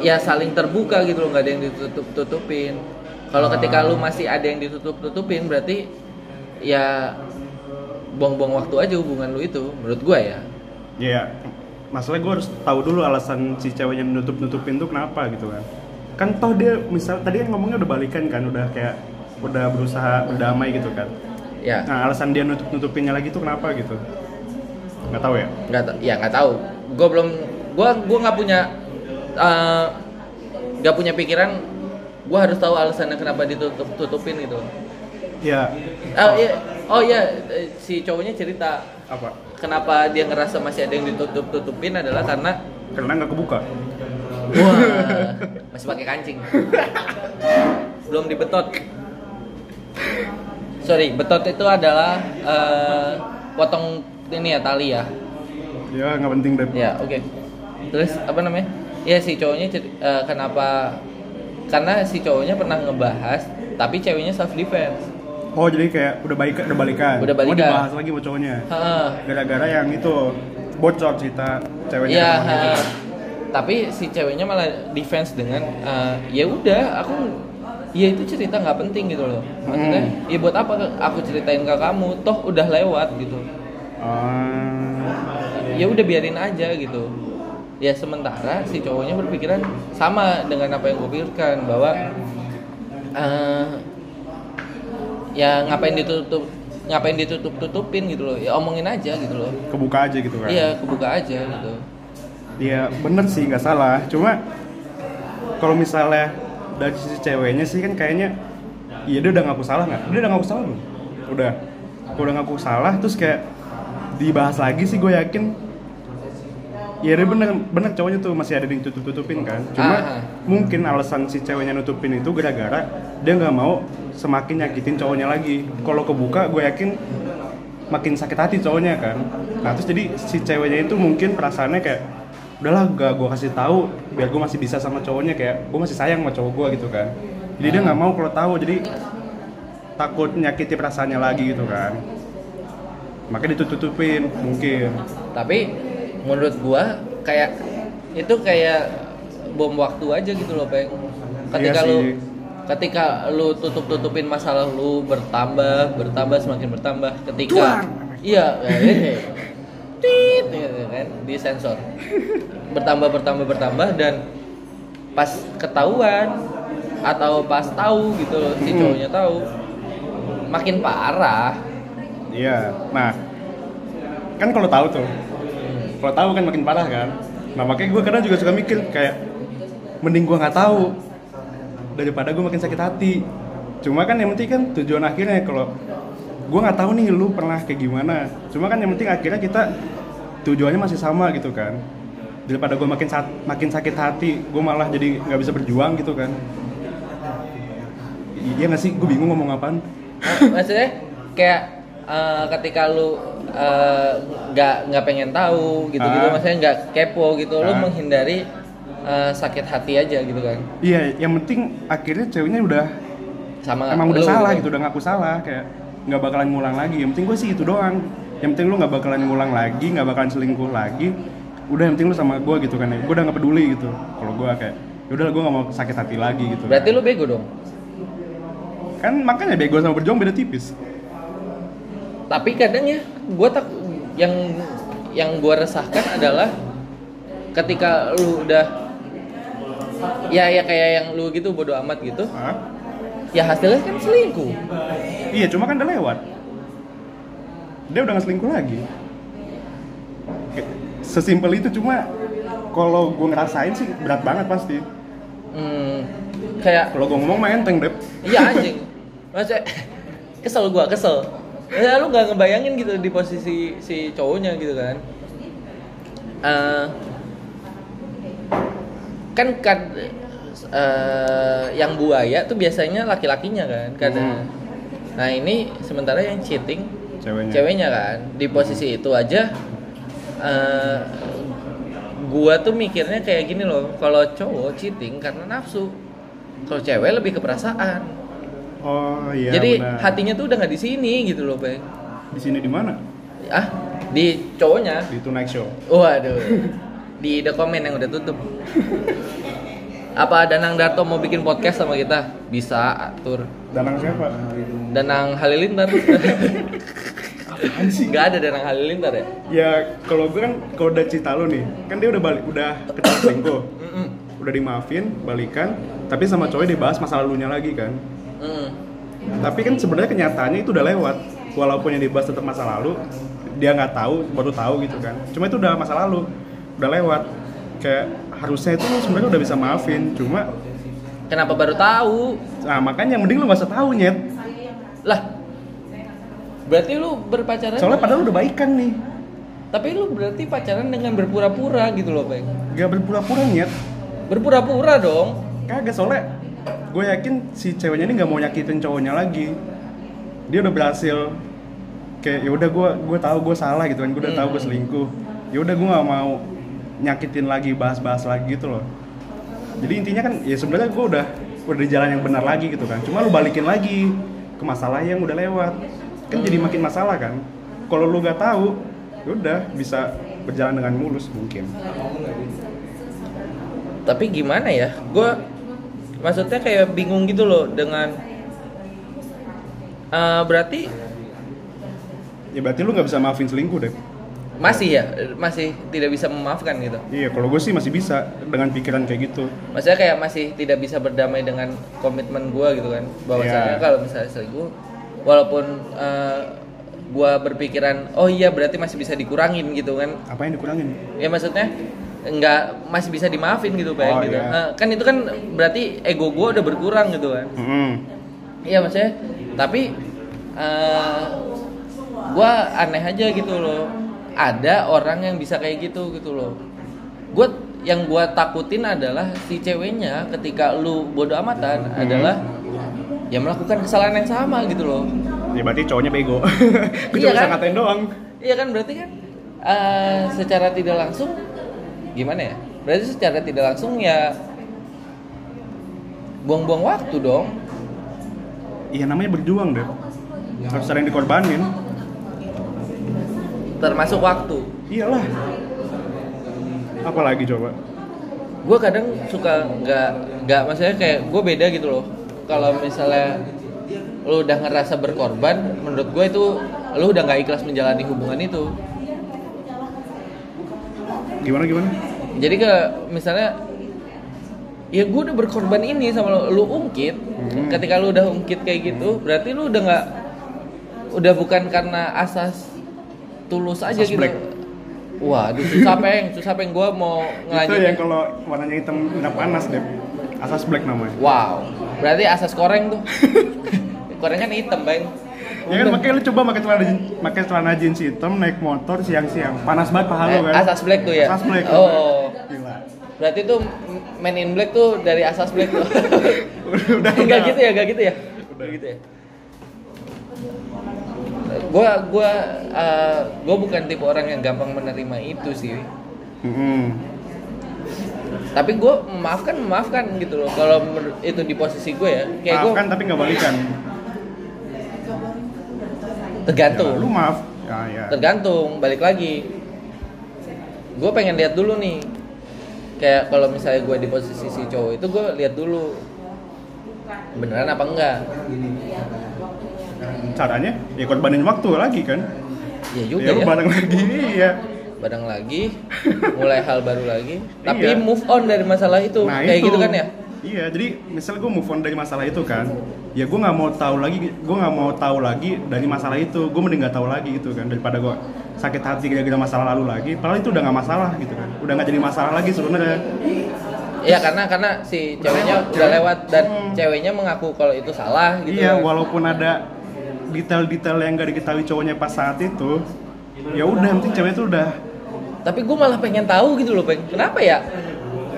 A: ya saling terbuka gitu loh nggak ada yang ditutup tutupin kalau ketika lu masih ada yang ditutup tutupin berarti ya buang-buang waktu aja hubungan lu itu menurut gua ya
B: ya masalahnya gue harus tahu dulu alasan si ceweknya nutup nutupin tuh kenapa gitu kan kan toh dia misal tadi kan ngomongnya udah balikan kan udah kayak udah berusaha berdamai gitu kan
A: ya
B: Nah, alasan dia nutup nutupinnya lagi tuh kenapa gitu? Nggak tahu ya.
A: nggak ta- ya nggak tahu gue belum gue gua nggak punya eh, nggak punya pikiran gue harus tahu alasannya kenapa ditutup tutupin gitu
B: Ya.
A: oh iya oh iya eh, si cowoknya cerita
B: Apa?
A: kenapa dia ngerasa masih ada yang ditutup tutupin adalah karena
B: Karena nggak kebuka.
A: wah masih pakai kancing belum dibetot sorry betot itu adalah eh, potong ini ya tali ya
B: Ya nggak penting deh.
A: Ya, oke. Terus apa namanya? Ya si cowoknya cer- eh, kenapa? Karena si cowoknya pernah ngebahas, tapi ceweknya self defense.
B: Oh jadi kayak udah baik udah balikan.
A: Udah
B: Mau
A: balikan.
B: dibahas lagi sama cowoknya.
A: Heeh.
B: Gara-gara yang itu bocor cerita ceweknya.
A: Iya.
B: ke temannya.
A: heeh. Tapi si ceweknya malah defense dengan eh, ya udah aku ya itu cerita nggak penting gitu loh maksudnya ya buat apa aku ceritain ke kamu toh udah lewat gitu
B: Ah,
A: ya udah biarin aja gitu ya sementara si cowoknya berpikiran sama dengan apa yang gue pikirkan bahwa eh, ya ngapain ditutup ngapain ditutup tutupin gitu loh ya omongin aja gitu loh
B: kebuka aja gitu kan
A: iya kebuka aja gitu
B: Iya bener sih nggak salah. Cuma kalau misalnya dari sisi ceweknya sih kan kayaknya iya dia udah ngaku salah nggak? Dia udah ngaku salah belum? Udah. Kalau udah ngaku salah terus kayak dibahas lagi sih gue yakin. Iya dia bener bener cowoknya tuh masih ada yang tutup tutupin kan.
A: Ah.
B: Cuma mungkin alasan si ceweknya nutupin itu gara-gara dia nggak mau semakin nyakitin cowoknya lagi. Kalau kebuka gue yakin makin sakit hati cowoknya kan nah terus jadi si ceweknya itu mungkin perasaannya kayak udahlah gak gue kasih tahu biar gue masih bisa sama cowoknya kayak gue masih sayang sama cowok gue gitu kan jadi dia nggak mau kalau tahu jadi takut nyakiti perasaannya lagi gitu kan makanya ditutupin mungkin
A: tapi menurut gua kayak itu kayak bom waktu aja gitu loh peng ketika
B: Iya
A: lu
B: sih.
A: ketika lu tutup tutupin masalah lu bertambah bertambah semakin bertambah ketika
B: Tuang!
A: iya eh, eh. tit gitu kan di sensor bertambah bertambah bertambah dan pas ketahuan atau pas tahu gitu loh si
B: Mm.
A: cowoknya tahu makin parah
B: iya nah kan kalau tahu tuh kalau tahu kan makin parah kan nah makanya gue kadang juga suka mikir kayak mending gue nggak tahu daripada gue makin sakit hati cuma kan yang penting kan tujuan akhirnya kalau gue nggak tahu nih lu pernah kayak gimana cuma kan yang penting akhirnya kita tujuannya masih sama gitu kan daripada gue makin sa- makin sakit hati gue malah jadi nggak bisa berjuang gitu kan iya nggak sih gue bingung ngomong apaan
A: maksudnya kayak eh, ketika lu eh, nggak nggak pengen tahu gitu-gitu
B: Ah.
A: maksudnya nggak kepo gitu lu
B: Ah.
A: menghindari eh, sakit hati aja gitu kan
B: iya yang penting akhirnya ceweknya udah
A: sama
B: emang udah
A: Ah, lu
B: salah gitu udah ngaku salah kayak nggak bakalan ngulang lagi yang penting gue sih itu doang yang penting lu nggak bakalan ngulang lagi nggak bakalan selingkuh lagi udah yang penting lu sama gue gitu kan gue udah nggak peduli gitu kalau gue kayak ya udah gue nggak mau sakit hati lagi gitu
A: berarti
B: kan.
A: lu bego dong
B: kan makanya bego sama berjuang beda tipis
A: tapi kadang ya gue tak yang yang gue resahkan adalah ketika lu udah ya ya kayak yang lu gitu bodoh amat gitu
B: Hah?
A: ya hasilnya kan selingkuh
B: iya cuma kan udah lewat dia udah nggak selingkuh lagi Kayak sesimpel itu cuma kalau gue ngerasain sih berat banget pasti
A: hmm, kayak
B: kalau gue ngomong mah enteng deh
A: Iya anjing. Maksudnya kesel gua, kesel. Ya lu nggak ngebayangin gitu di posisi si cowoknya gitu kan. Eh, kan kad eh, yang buaya tuh biasanya laki-lakinya kan kadang.
B: Hmm.
A: Nah, ini sementara yang cheating
B: ceweknya Hmm.
A: ceweknya kan. Di posisi itu aja eh gua tuh mikirnya kayak gini loh, kalau cowok cheating karena nafsu. Kalau cewek lebih ke perasaan.
B: oh iya
A: Jadi
B: benar.
A: hatinya tuh udah nggak di sini gitu loh, Bang.
B: di sini di mana
A: Ah, di cowoknya.
B: di Tonight Show.
A: Waduh.
B: [LAUGHS]
A: di The Comment yang udah tutup. Apa Danang Darto mau bikin podcast sama kita? Bisa atur.
B: Danang siapa?
A: Danang
B: [LAUGHS]
A: Halilintar.
B: Anjing.
A: Gak ada Danang Halilintar ya?
B: Ya kalau gue kan kalau udah cerita lu nih, kan dia udah balik, udah ketahuan selingkuh,
A: Mm-mm.
B: udah dimaafin, balikan, tapi sama cowoknya dibahas masa lalunya lagi kan.
A: Mm.
B: Tapi kan sebenarnya kenyataannya itu udah lewat, walaupun yang dibahas tetap masa lalu, dia nggak tahu, baru tahu gitu kan. Cuma itu udah masa lalu, udah lewat. Kayak harusnya itu lu sebenarnya udah bisa maafin, cuma
A: Kenapa baru tahu?
B: nah makanya mending lu gak usah tahu nyet.
A: Lah. Berarti lu berpacaran
B: Soalnya padahal udah baikan nih,
A: Tapi lu berarti pacaran dengan berpura-pura gitu loh, Bang.
B: gak berpura-pura nyet.
A: Berpura-pura dong.
B: Kagak soalnya gue yakin si ceweknya ini nggak mau nyakitin cowoknya lagi. Dia udah berhasil kayak ya udah gue gue tahu gue salah gitu kan gue udah tahu gue selingkuh. Ya udah gue nggak mau nyakitin lagi bahas-bahas lagi gitu loh. Jadi intinya kan ya sebenarnya gue udah udah di jalan yang benar lagi gitu kan. Cuma lu balikin lagi ke masalah yang udah lewat. Kan jadi makin masalah kan. Kalau lu nggak tahu, ya udah bisa berjalan dengan mulus mungkin.
A: tapi gimana ya gue maksudnya kayak bingung gitu loh dengan eh, berarti
B: Ya berarti lu nggak bisa maafin selingkuh deh.
A: masih ya masih tidak bisa memaafkan gitu
B: Iya, kalau gue sih masih bisa dengan pikiran kayak gitu.
A: maksudnya kayak masih tidak bisa berdamai dengan komitmen gua gitu kan bahwasanya
B: Iya.
A: kalau misalnya selingkuh walaupun eh, gua berpikiran oh iya berarti masih bisa dikurangin gitu kan
B: Apa yang dikurangin?
A: ya maksudnya nggak masih bisa dimaafin gitu pak
B: Oh,
A: gitu
B: iya.
A: Eh, kan itu kan berarti ego gua udah berkurang gitu kan
B: Hmm.
A: iya maksudnya tapi eh gua aneh aja gitu loh ada orang yang bisa kayak gitu gitu loh gua yang gua takutin adalah si ceweknya ketika lu bodoh amatan
B: Hmm.
A: adalah ya melakukan kesalahan yang sama gitu loh
B: Ya berarti cowoknya bego. [LAUGHS] gue
A: Iya
B: cuma bisa
A: kan?
B: ngatain doang.
A: Iya kan berarti kan eh, secara tidak langsung gimana ya? Berarti secara tidak langsung ya buang-buang waktu dong.
B: Iya namanya berjuang deh. Harus sering dikorbanin.
A: Termasuk waktu.
B: Iyalah. Apalagi coba?
A: Gue kadang suka nggak nggak maksudnya kayak gue beda gitu loh. Kalau misalnya lu udah ngerasa berkorban, menurut gue itu lu udah nggak ikhlas menjalani hubungan itu.
B: Gimana gimana?
A: Jadi ke misalnya ya gue udah berkorban ini sama lo, lu ungkit.
B: Hmm.
A: Ketika lu udah ungkit kayak gitu, berarti lu udah nggak udah bukan karena asas tulus aja
B: Asas
A: gitu.
B: black.
A: Wah, aduh
B: [LAUGHS]
A: susah peng, susah peng gue mau
B: Itu yang
A: ngelanjutin.
B: kalau warnanya hitam udah panas deh. Asas black namanya.
A: Wow, berarti asas koreng
B: [LAUGHS]
A: tuh. koreng kan hitam, Bang.
B: Ya kan makanya lu coba pakai celana jeans, pakai celana jeans hitam naik motor siang-siang. Panas banget paha lu kan.
A: asas black tuh ya.
B: Asas black.
A: Oh.
B: Gila. [LAUGHS]
A: Berarti tuh men in black tuh dari asas black tuh.
B: [LAUGHS] Udah udah.
A: Enggak gitu ya, enggak gitu ya. Udah gitu ya. Gua gua eh, gua bukan tipe orang yang gampang menerima itu sih.
B: Mm-mm.
A: Tapi gua memaafkan memaafkan gitu loh. Kalau menur- itu di posisi gue ya, kayak gue
B: Maafkan tapi nggak balikan.
A: tergantung.
B: Ya, lu maaf. Ya ya.
A: tergantung balik lagi gue pengen lihat dulu nih kayak kalau misalnya gue di posisi si cowok itu gue lihat dulu beneran apa enggak
B: Caranya ya korbanin waktu lagi kan.
A: ya juga
B: Ya
A: ya,
B: lu bareng lagi. Iya.
A: Bareng
B: [LAUGHS]
A: lagi mulai hal baru lagi tapi
B: Iya.
A: move on dari masalah itu
B: Nah,
A: kayak
B: itu.
A: gitu kan ya
B: Iya, jadi misal gue move on dari masalah itu kan, ya gue nggak mau tahu lagi, gue nggak mau tahu lagi dari masalah itu, gue mending nggak tahu lagi gitu kan daripada gue sakit hati gara-gara masalah lalu lagi, padahal itu udah nggak masalah gitu kan, udah nggak jadi masalah lagi sebenarnya.
A: Iya karena karena si ceweknya
B: lewat,
A: udah
B: ya.
A: lewat dan
B: Hmm.
A: ceweknya mengaku kalau itu salah gitu kan.
B: Iya, walaupun ada detail-detail yang nggak diketahui cowoknya pas saat itu, ya udah, yang penting cewek itu udah,
A: tapi gue malah pengen tahu gitu loh Bang. kenapa ya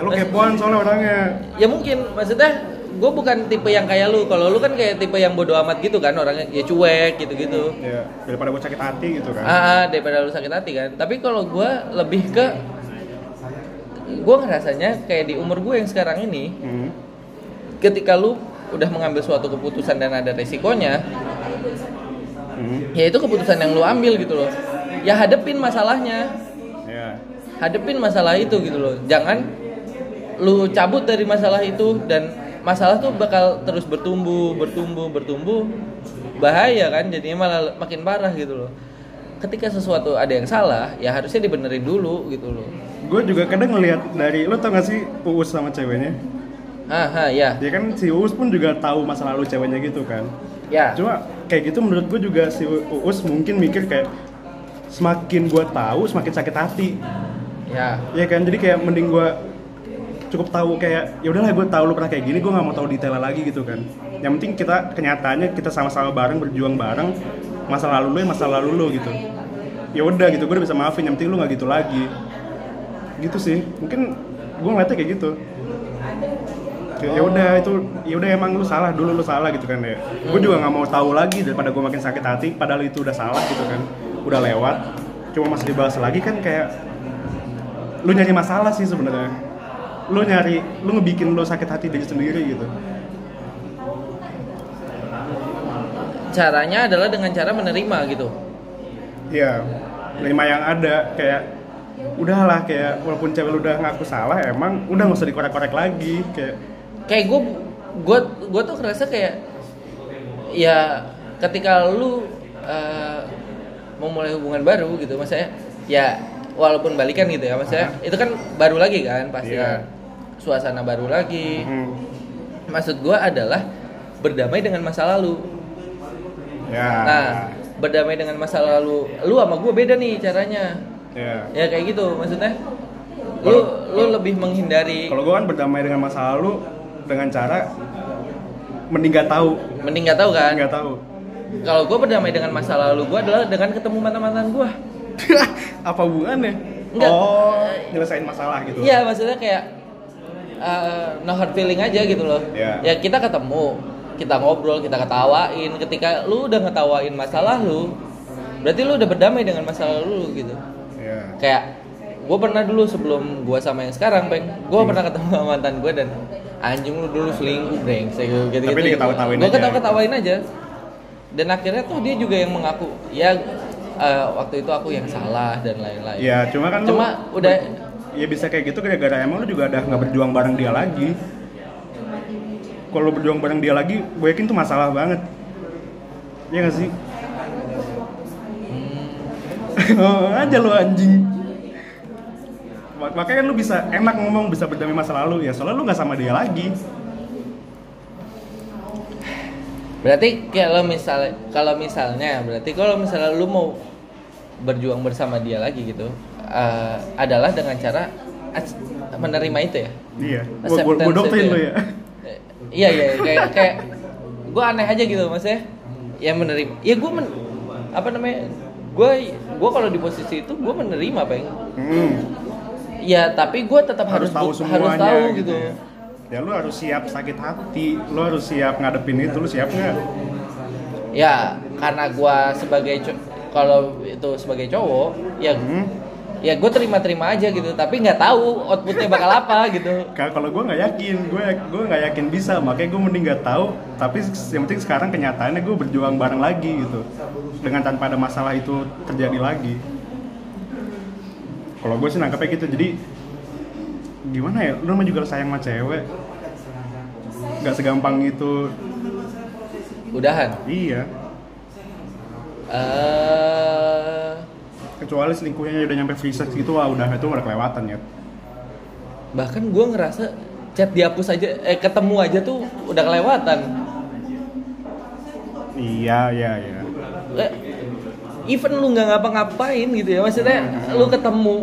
B: ya lu kepoan soalnya orangnya.
A: ya mungkin maksudnya gue bukan tipe yang kayak lu kalau lu kan kayak tipe yang bodoh amat gitu kan orangnya ya cuek gitu gitu
B: Ya, daripada gue sakit hati gitu kan.
A: ah ah, daripada lu sakit hati kan tapi kalau gue lebih ke gue ngerasanya kayak di umur gue yang sekarang ini
B: Hmm.
A: ketika lu udah mengambil suatu keputusan dan ada resikonya
B: Hmm.
A: ya itu keputusan yang lu ambil gitu loh ya hadepin masalahnya
B: Ya.
A: hadepin masalah itu gitu loh jangan lu cabut dari masalah itu dan masalah tuh bakal terus bertumbuh bertumbuh bertumbuh bahaya kan jadinya malah makin parah gitu loh ketika sesuatu ada yang salah ya harusnya dibenerin dulu gitu loh
B: Gue juga kadang ngelihat dari, lo tau gak sih Uus sama ceweknya?
A: haha ya
B: Ya kan si Uus pun juga tahu masa lalu ceweknya gitu kan.
A: ya
B: Cuma kayak gitu menurut gue juga si Uus mungkin mikir kayak semakin gue tahu semakin sakit hati.
A: ya
B: Ya kan jadi kayak mending gue cukup tahu kayak ya udahlah gue tahu lu pernah kayak gini gue nggak mau tahu detail lagi gitu kan. Yang penting kita kenyataannya kita sama-sama bareng berjuang bareng masa lalu lu ya masa lalu lu gitu. Ya udah gitu gue udah bisa maafin yang penting lu nggak gitu lagi. Gitu sih mungkin gue ngeliatnya kayak gitu. Kayak, ya udah itu ya udah emang lu salah dulu lu salah gitu kan ya gue juga nggak mau tahu lagi daripada gue makin sakit hati padahal itu udah salah gitu kan udah lewat cuma masih dibahas lagi kan kayak lu nyari masalah sih sebenarnya lu nyari lu ngebikin lu sakit hati diri sendiri gitu
A: caranya adalah dengan cara menerima gitu
B: Iya, lima yang ada kayak udahlah kayak walaupun cewek lu udah ngaku salah emang udah nggak usah dikorek-korek lagi kayak
A: kayak gue gue gue tuh ngerasa kayak ya ketika lu eh, memulai hubungan baru gitu maksudnya ya walaupun balikan gitu ya maksudnya itu kan baru lagi kan pasti
B: Iya.
A: kan. suasana baru lagi
B: Hmm.
A: maksud gue adalah berdamai dengan masa lalu
B: Ya.
A: nah berdamai dengan masa lalu lu sama gue beda nih caranya
B: Ya.
A: ya kayak gitu maksudnya lu
B: Kalau-
A: lu lebih menghindari
B: Kalau gue kan berdamai dengan masa lalu dengan cara mending gak tahu,
A: mending nggak tahu kan
B: nggak tahu. [LAUGHS]
A: kalau gue berdamai dengan masa lalu gue adalah dengan ketemu mantan mantan gue
B: Apa hubungannya?
A: Nggak.
B: Oh, nyelesain masalah gitu.
A: iya maksudnya kayak eh, no hard feeling aja gitu loh
B: Iya.
A: ya kita ketemu kita ngobrol kita ketawain ketika lu udah ngetawain masalah lu berarti lu udah berdamai dengan masa lalu lu gitu
B: Ya.
A: kayak gue pernah dulu sebelum gue sama yang sekarang peng gue
B: Iya.
A: pernah ketemu sama mantan gue dan anjing lu dulu selingkuh brengsek gitu gitu
B: Tapi diketawa-tawain
A: gue
B: aja.
A: ketawa ketawain aja dan akhirnya tuh dia juga yang mengaku ya eh, waktu itu aku yang salah dan lain-lain
B: Ya, cuma kan lu-
A: cuma udah
B: ya bisa kayak gitu gara-gara emang lu juga udah nggak berjuang bareng dia lagi kalau lu berjuang bareng dia lagi gue yakin tuh masalah banget ya gak sih [LAUGHS] oh, aja lu anjing Mak- makanya kan lu bisa enak ngomong bisa berdamai masa lalu ya soalnya lu nggak sama dia lagi
A: berarti kalau misalnya kalau misalnya berarti kalau misalnya lu mau berjuang bersama dia lagi gitu eh, adalah dengan cara ac- menerima itu ya
B: iya gue gue doktrin lu ya
A: Eh, iya iya iya. kayak kayak gue aneh aja gitu maksudnya ya menerima ya gue men apa namanya gue gue kalau di posisi itu gue menerima peng
B: Hmm,
A: ya tapi gue tetap harus
B: harus tahu
A: bu- harus
B: semuanya
A: tahu
B: gitu,
A: gitu,
B: ya ya lu harus siap sakit hati lu harus siap ngadepin itu lu siap nggak
A: ya karena gue sebagai co- kalau itu sebagai cowok ya
B: Hmm.
A: ya gue terima-terima aja gitu tapi nggak tahu outputnya bakal apa gitu
B: Ka- kalau gue nggak yakin gue gue nggak yakin bisa makanya gue mending nggak tahu tapi s- yang penting sekarang kenyataannya gue berjuang bareng lagi gitu dengan tanpa ada masalah itu terjadi lagi kalau gue sih nangkepnya gitu jadi gimana ya lu mah juga sayang sama cewek nggak segampang itu
A: udahan
B: iya
A: eh
B: kecuali selingkuhnya udah nyampe free sex gitu wah udah itu udah kelewatan ya
A: bahkan gue ngerasa chat dihapus aja eh ketemu aja tuh udah kelewatan
B: iya iya iya
A: Eh, even lu nggak ngapa-ngapain gitu ya maksudnya
B: Hmm.
A: lu ketemu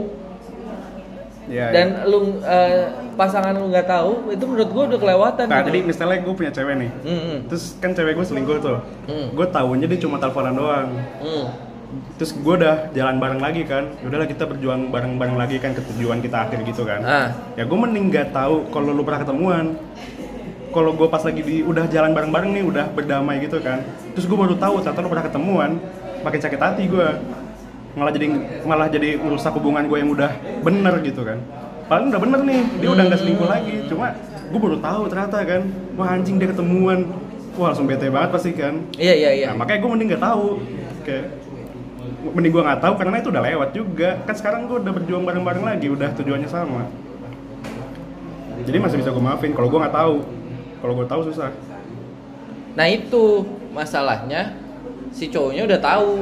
B: Iya,
A: dan
B: iya.
A: lu eh, pasangan lu nggak tahu itu menurut gue udah kelewatan
B: nah
A: gitu.
B: jadi misalnya gue punya cewek nih
A: Hmm, hmm,
B: terus kan cewek gue selingkuh tuh
A: Hmm.
B: gue tahunya dia cuma teleponan doang
A: hmm.
B: terus gue udah jalan bareng lagi kan udahlah kita berjuang bareng bareng lagi kan ke tujuan kita akhir gitu kan
A: ah
B: ya gue mending gak tahu kalau lu pernah ketemuan kalau gue pas lagi di udah jalan bareng bareng nih udah berdamai gitu kan terus gue baru tahu ternyata lu pernah ketemuan makin sakit hati gue malah jadi malah jadi merusak hubungan gue yang udah bener gitu kan paling udah bener nih dia udah nggak selingkuh lagi cuma gue baru tahu ternyata kan wah anjing dia ketemuan wah langsung bete banget pasti kan
A: iya iya iya
B: Nah, makanya gue mending nggak tahu. Kayak mending gue nggak tahu karena itu udah lewat juga. Kan sekarang gue udah berjuang bareng-bareng lagi, udah tujuannya sama. Jadi masih bisa gue maafin. Kalau gue nggak tahu, kalau gue tahu susah.
A: nah itu masalahnya si cowoknya udah tahu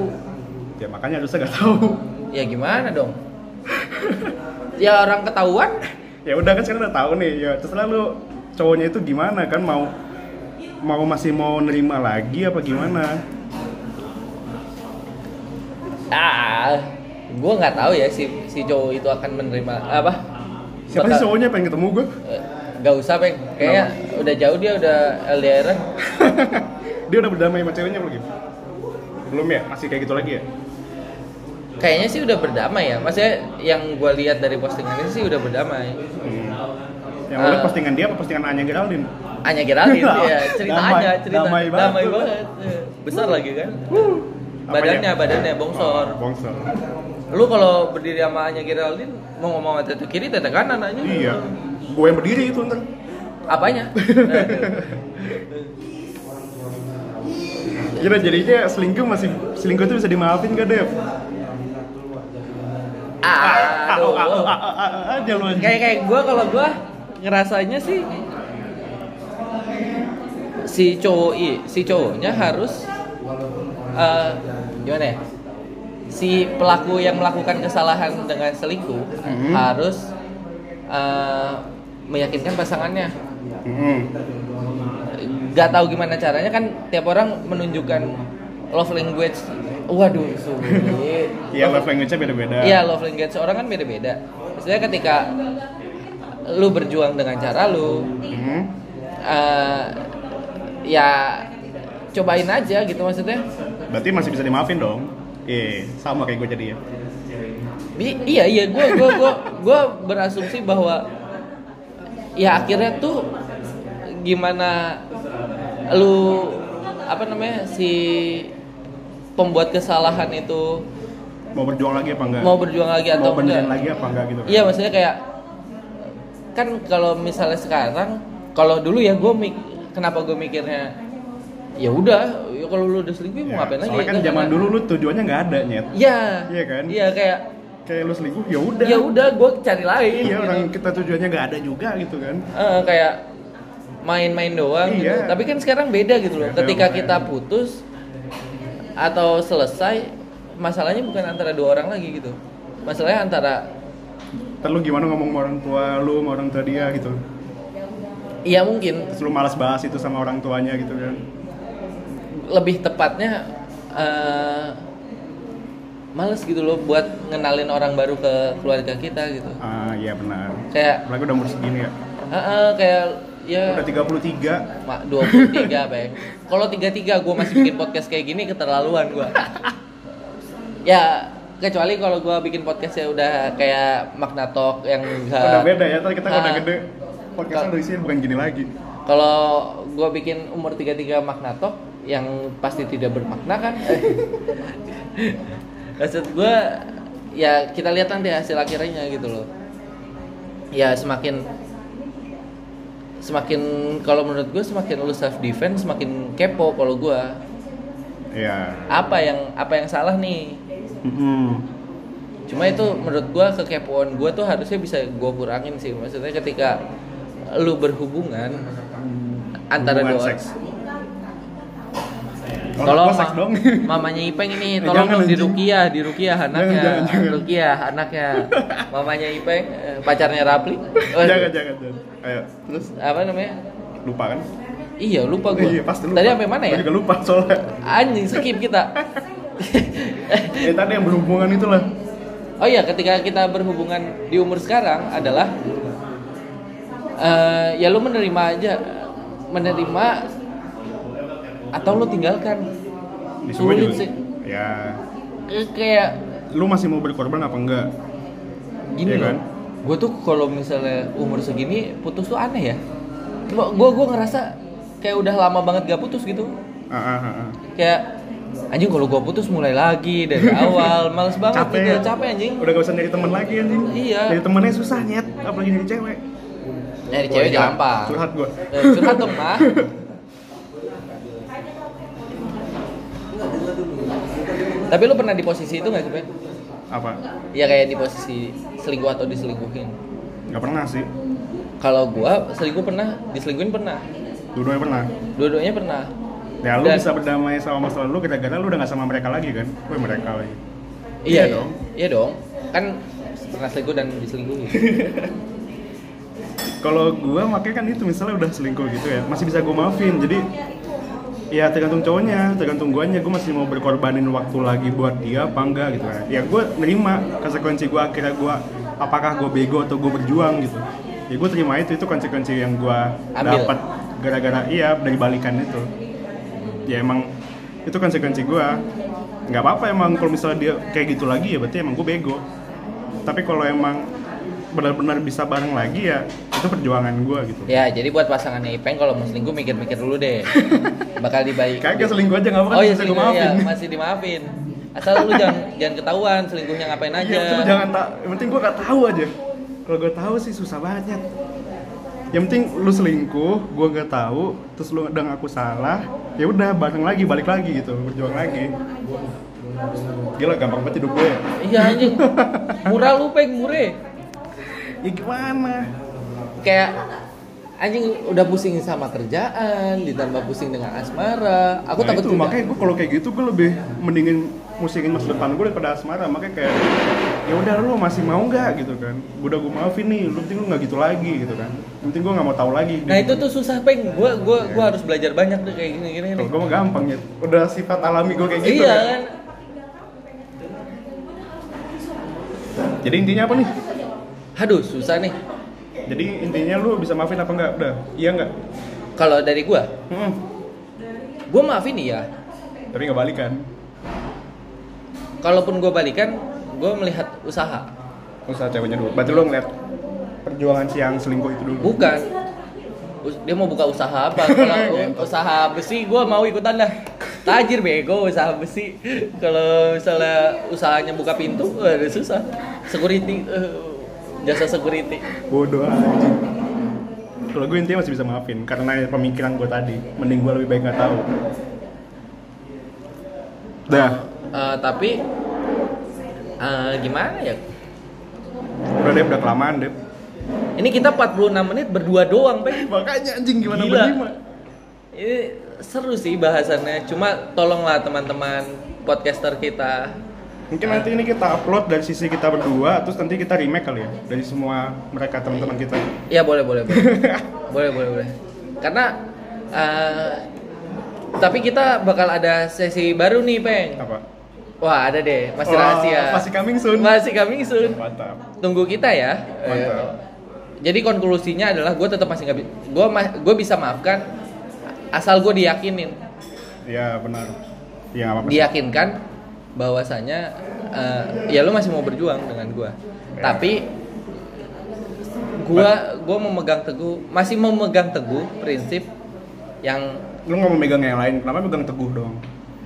B: Ya makanya harusnya nggak tahu. [LAUGHS]
A: ya gimana dong ya orang ketahuan
B: Ya udah kan sekarang udah tahu nih. Ya terus lalu cowoknya itu gimana kan mau mau masih mau nerima lagi apa gimana?
A: ah gue nggak tahu ya si si cowok itu akan menerima apa
B: Siapa
A: bakal-
B: sih cowoknya pengen ketemu gue?
A: Eh, Gak usah peng, kayaknya udah jauh dia udah LDR
B: [LAUGHS] Dia udah berdamai sama ceweknya belum? Gim? Belum ya? Masih kayak gitu lagi ya?
A: Kayaknya sih udah berdamai ya, maksudnya yang gue lihat dari postingannya sih udah berdamai
B: Hmm. Yang
A: Ah.
B: udah postingan dia apa postingan Anya Geraldine?
A: Anya Geraldine ya, cerita
B: [LAUGHS] Damai-
A: Anya, cerita
B: damai banget.
A: Eh, Besar lagi kan
B: Apanya?
A: Badannya, badannya, bongsor
B: Oh, bongsor.
A: Lu kalau berdiri sama Anya Geraldine, mau ngomong sama tete kiri, tete kanan aja
B: Iya. Gue yang berdiri itu ntar. [LAUGHS]
A: Apanya?
B: Gila jadinya selingkuh masih selingkuh itu bisa dimaafin gak Dev? [LAUGHS]
A: Aduh
B: Ah, ah, ah, ah, Aja lu anjing.
A: kayak kayak gue kalau gue ngerasanya sih si cowok i- si cowoknya harus eh, gimana ya? Si pelaku yang melakukan kesalahan dengan selingkuh
B: Mhm.
A: harus eh, meyakinkan pasangannya.
B: Mm-mm.
A: Gak tahu gimana caranya kan tiap orang menunjukkan love language. Waduh, sulit.
B: Iya, love language-nya beda-beda.
A: Iya, love language orang kan beda-beda. Maksudnya ketika lu berjuang dengan cara lu,
B: Mm-mm.
A: eh, ya cobain aja gitu maksudnya.
B: Berarti masih bisa dimaafin dong. Iya, sama kayak gue jadi ya.
A: Bi- iya iya gue gue gue gue berasumsi bahwa ya akhirnya tuh gimana lu apa namanya si pembuat kesalahan itu
B: Mau berjuang lagi apa enggak?
A: mau berjuang lagi atau
B: Mau benerin
A: enggak?
B: lagi apa enggak gitu. kan?
A: Iya maksudnya kayak kan kalau misalnya sekarang kalau dulu ya gue mik kenapa gue mikirnya ya udah ya kalau lu udah selingkuh
B: Iya,
A: mau ngapain lagi?
B: Soalnya kan
A: Nggak,
B: zaman
A: karena-
B: dulu lu tujuannya nggak ada nyet.
A: Iya.
B: Iya kan?
A: Iya kayak
B: Kayak lu selingkuh, ya udah.
A: ya udah gue cari lain.
B: Iya,
A: gitu.
B: orang kita tujuannya nggak ada juga gitu kan.
A: Eh, kayak main-main doang gitu.
B: Iya.
A: Tapi kan sekarang beda gitu loh.
B: Beda,
A: Ketika
B: makanya.
A: kita putus atau selesai masalahnya bukan antara dua orang lagi gitu. Masalahnya antara
B: Ntar lu gimana ngomong sama orang tua lu, sama orang tua dia gitu.
A: iya mungkin
B: Terus lu malas bahas itu sama orang tuanya gitu kan.
A: lebih tepatnya eh males gitu loh buat ngenalin orang baru ke keluarga kita gitu
B: Ah, iya benar.
A: kayak
B: Apalagi udah umur segini ya.
A: eh, eh, kayak ya
B: Udah 33.
A: mak 23 bang kalau 33 gue masih bikin podcast kayak gini keterlaluan gue ya kecuali kalau gue bikin podcast ya udah kayak makna talk yang enggak
B: Udah beda ya, ntar kita kalau udah
A: Ah.
B: gede podcastnya udah isinya bukan gini lagi.
A: kalau gue bikin umur 33 makna talk yang pasti tidak bermakna kan maksud gue ya kita lihat nanti hasil akhirnya gitu loh ya semakin semakin kalau menurut gue semakin lu self defense semakin kepo kalau gue
B: Iya.
A: apa yang apa yang salah nih
B: Mm-mm.
A: cuma itu menurut gue kekepoan gue tuh harusnya bisa gue kurangin sih maksudnya ketika lu berhubungan antara
B: Hmm. Hubungan
A: dua
B: seks. Kalau
A: Tolong
B: gua seks
A: Ma-
B: Oh,
A: [LAUGHS]
B: dong.
A: mamanya Ipeng ini
B: Eh,
A: tolong
B: jangan,
A: dong
B: anjing.
A: dirukiah, dirukiah anaknya,
B: jangan, jangan.
A: rukiah anaknya. mamanya Ipeng eh, pacarnya Rapli. Waduh.
B: [LAUGHS] jangan, jangan, jangan. Ayo, terus
A: Apa namanya?
B: lupa kan?
A: Iya, lupa gue.
B: Iya, pasti lupa.
A: Tadi sampai mana ya?
B: Gua juga lupa soalnya.
A: Anjing skip
B: [LAUGHS]
A: kita.
B: Eh tadi yang berhubungan itulah.
A: oh iya, ketika kita berhubungan di umur sekarang adalah eh, ya lu menerima aja menerima atau lu tinggalkan.
B: Di semua
A: Sulit
B: juga.
A: sih.
B: Ya,
A: Eh, Kayak
B: lu masih mau berkorban apa enggak?
A: gini
B: Iya
A: loh
B: kan?
A: gue tuh kalau misalnya umur segini putus tuh aneh ya gue gue ngerasa kayak udah lama banget gak putus gitu
B: Ah, ah, ah, ah.
A: kayak anjing kalau gue putus mulai lagi
B: [LAUGHS]
A: dari awal males banget
B: Capek. ya?
A: gitu capek anjing
B: Udah gak usah nyari teman lagi anjing.
A: Iya.
B: Nyari temennya susah nyet, apalagi nyari cewek.
A: nyari cewek
B: Wah, gila.
A: gampang
B: iya. Curhat gua.
A: Eh, curhat dong mah tapi lu pernah di posisi itu nggak sih Pe?
B: [LAUGHS] Apa?
A: ya kayak di posisi selingkuh atau diselingkuhin
B: Gak pernah sih.
A: kalau gua selingkuh pernah diselingkuhin pernah
B: Dua-duanya pernah.
A: dua-duanya pernah
B: Ya lu
A: Dan-
B: bisa berdamai sama masa lalu gara-gara lu udah gak sama mereka lagi kan? Woi mereka lagi.
A: Iya,
B: Iya
A: dong.
B: dong.
A: Iya dong. Kan pernah selingkuh dan
B: [LAUGHS]
A: diselingkuhi.
B: Kalau gua makanya kan itu misalnya udah selingkuh gitu ya, masih bisa gua maafin. Jadi ya tergantung cowoknya, tergantung guanya gua masih mau berkorbanin waktu lagi buat dia apa enggak gitu kan. Ya gua nerima konsekuensi gua akhirnya gua apakah gua bego atau gua berjuang gitu. Ya gua terima itu itu konsekuensi yang gua
A: Ambil.
B: dapat gara-gara iya dari balikan itu. Ya emang itu konsekuensi gua. nggak apa-apa emang kalau misalnya dia kayak gitu lagi ya berarti emang gua bego. Tapi kalau emang benar-benar bisa bareng lagi ya itu perjuangan gua gitu.
A: ya, jadi buat pasangannya Ipeng kalau mau selingkuh mikir-mikir dulu
B: [LAUGHS]
A: deh. Bakal dibaik.
B: Kagak selingkuh aja nggak apa-apa
A: Oh iya,
B: bisa gua
A: selingkuh
B: [LAUGHS]
A: ya,
B: maafin.
A: masih dimaafin. Asal lu jangan jangan ketahuan selingkuhnya ngapain aja.
B: Iya, cuma jangan tak. Yang penting gua nggak tahu aja. Kalau gua tahu sih susah banget. Nyet. Yang penting lu selingkuh, gua nggak tahu, terus lu udah ngaku salah, ya udah bareng lagi, balik lagi gitu, berjuang lagi. Gila gampang banget hidup ya. gue.
A: Iya anjing. Murah lu Peng, mure.
B: Ya gimana?
A: Kayak anjing udah pusing sama kerjaan ditambah pusing dengan asmara aku
B: Nah,
A: takut
B: itu,
A: juga.
B: makanya gue kalau kayak gitu gue lebih mendingin musingin masa depan gue daripada asmara makanya kayak ya udah lu masih mau nggak gitu kan udah gue maafin nih lu penting lu nggak gitu lagi gitu kan Yang penting gue nggak mau tahu lagi gitu.
A: nah itu tuh susah peng gue gua gua harus belajar banyak tuh kayak gini gini nih
B: gue mah gampang ya udah sifat alami gue kayak gitu
A: iya
B: kan.
A: kan
B: jadi intinya apa nih
A: aduh susah nih
B: jadi intinya lu bisa maafin apa nggak udah iya nggak
A: kalau dari gue
B: Hmm.
A: gue maafin ya
B: tapi nggak balik kan
A: kalaupun gue balikan gue melihat usaha
B: usaha ceweknya dulu berarti lu ngeliat perjuangan si yang selingkuh itu dulu
A: bukan Us- dia mau buka usaha apa kalau u-
B: Ngentot.
A: usaha besi gue mau ikutan dah tajir bego usaha besi kalau misalnya usahanya buka pintu ada susah security eh, jasa security
B: bodoh aja kalau gue intinya masih bisa maafin karena ya pemikiran gue tadi mending gue lebih baik nggak tahu dah
A: Eh, tapi eh, gimana ya
B: udah deh udah kelamaan deh
A: ini kita 46 menit berdua doang Pe.
B: makanya anjing gimana
A: Gila.
B: berlima
A: Ini seru sih bahasannya. Cuma tolonglah teman-teman podcaster kita.
B: mungkin nanti ini kita upload dari sisi kita berdua terus nanti kita remake kali ya dari semua mereka teman-teman kita
A: Ya boleh boleh
B: [LAUGHS]
A: boleh. boleh boleh boleh. Karena eh, tapi kita bakal ada sesi baru nih, Peng.
B: apa
A: Wah, ada deh, masih
B: Wah,
A: rahasia.
B: masih coming soon.
A: Masih coming soon.
B: mantap
A: Tunggu kita ya.
B: Mantap.
A: Eh, jadi konklusinya adalah gue tetap masih nggak gue gue bisa maafkan asal gue diyakinin
B: ya benar ya nggak apa-apa sih.
A: diyakinkan bahwasanya eh, ya lu masih mau berjuang dengan gua.
B: Ya.
A: Tapi gua gua memegang teguh masih memegang teguh prinsip yang
B: lu nggak mau megang yang lain kenapa megang teguh dong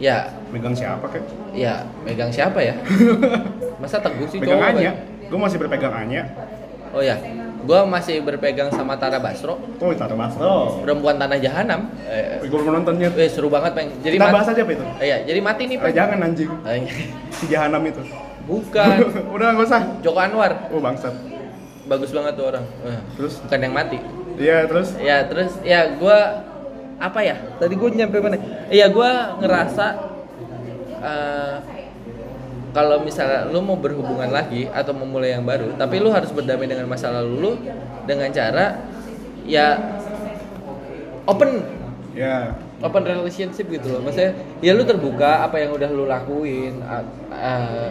A: ya
B: megang siapa kek
A: ya megang siapa ya? [LAUGHS] Masa teguh sih
B: megang
A: cowok, kan?
B: Anya
A: Bang?
B: gue masih berpegang Anya
A: Oh ya. Gua masih berpegang sama Tara Basro,
B: tuh taruh Basro
A: perempuan tanah jahanam. Eh,
B: Wih, Gue belum nontonnya.
A: eh, seru banget, Peng. Jadi
B: Kita
A: mat-
B: bahas aja apa itu?
A: Eh, ya, jadi mati nih,
B: Eh,
A: Peng.
B: jangan anjing.
A: Eh,
B: Si Jahanam itu. [LAUGHS]
A: Bukan.
B: Udah nggak usah.
A: Joko Anwar.
B: Oh bangsat.
A: Bagus banget tuh orang. Eh,
B: Terus?
A: bukan yang mati.
B: Iya terus.
A: ya terus ya gua apa ya tadi gue nyampe mana ya gua ngerasa eh, kalau misalnya lu mau berhubungan lagi atau memulai yang baru tapi lu harus berdamai dengan masa lalu lu dengan cara ya open
B: Ya.
A: open relationship gitu loh maksudnya ya lu terbuka apa yang udah lu lakuin a- eh,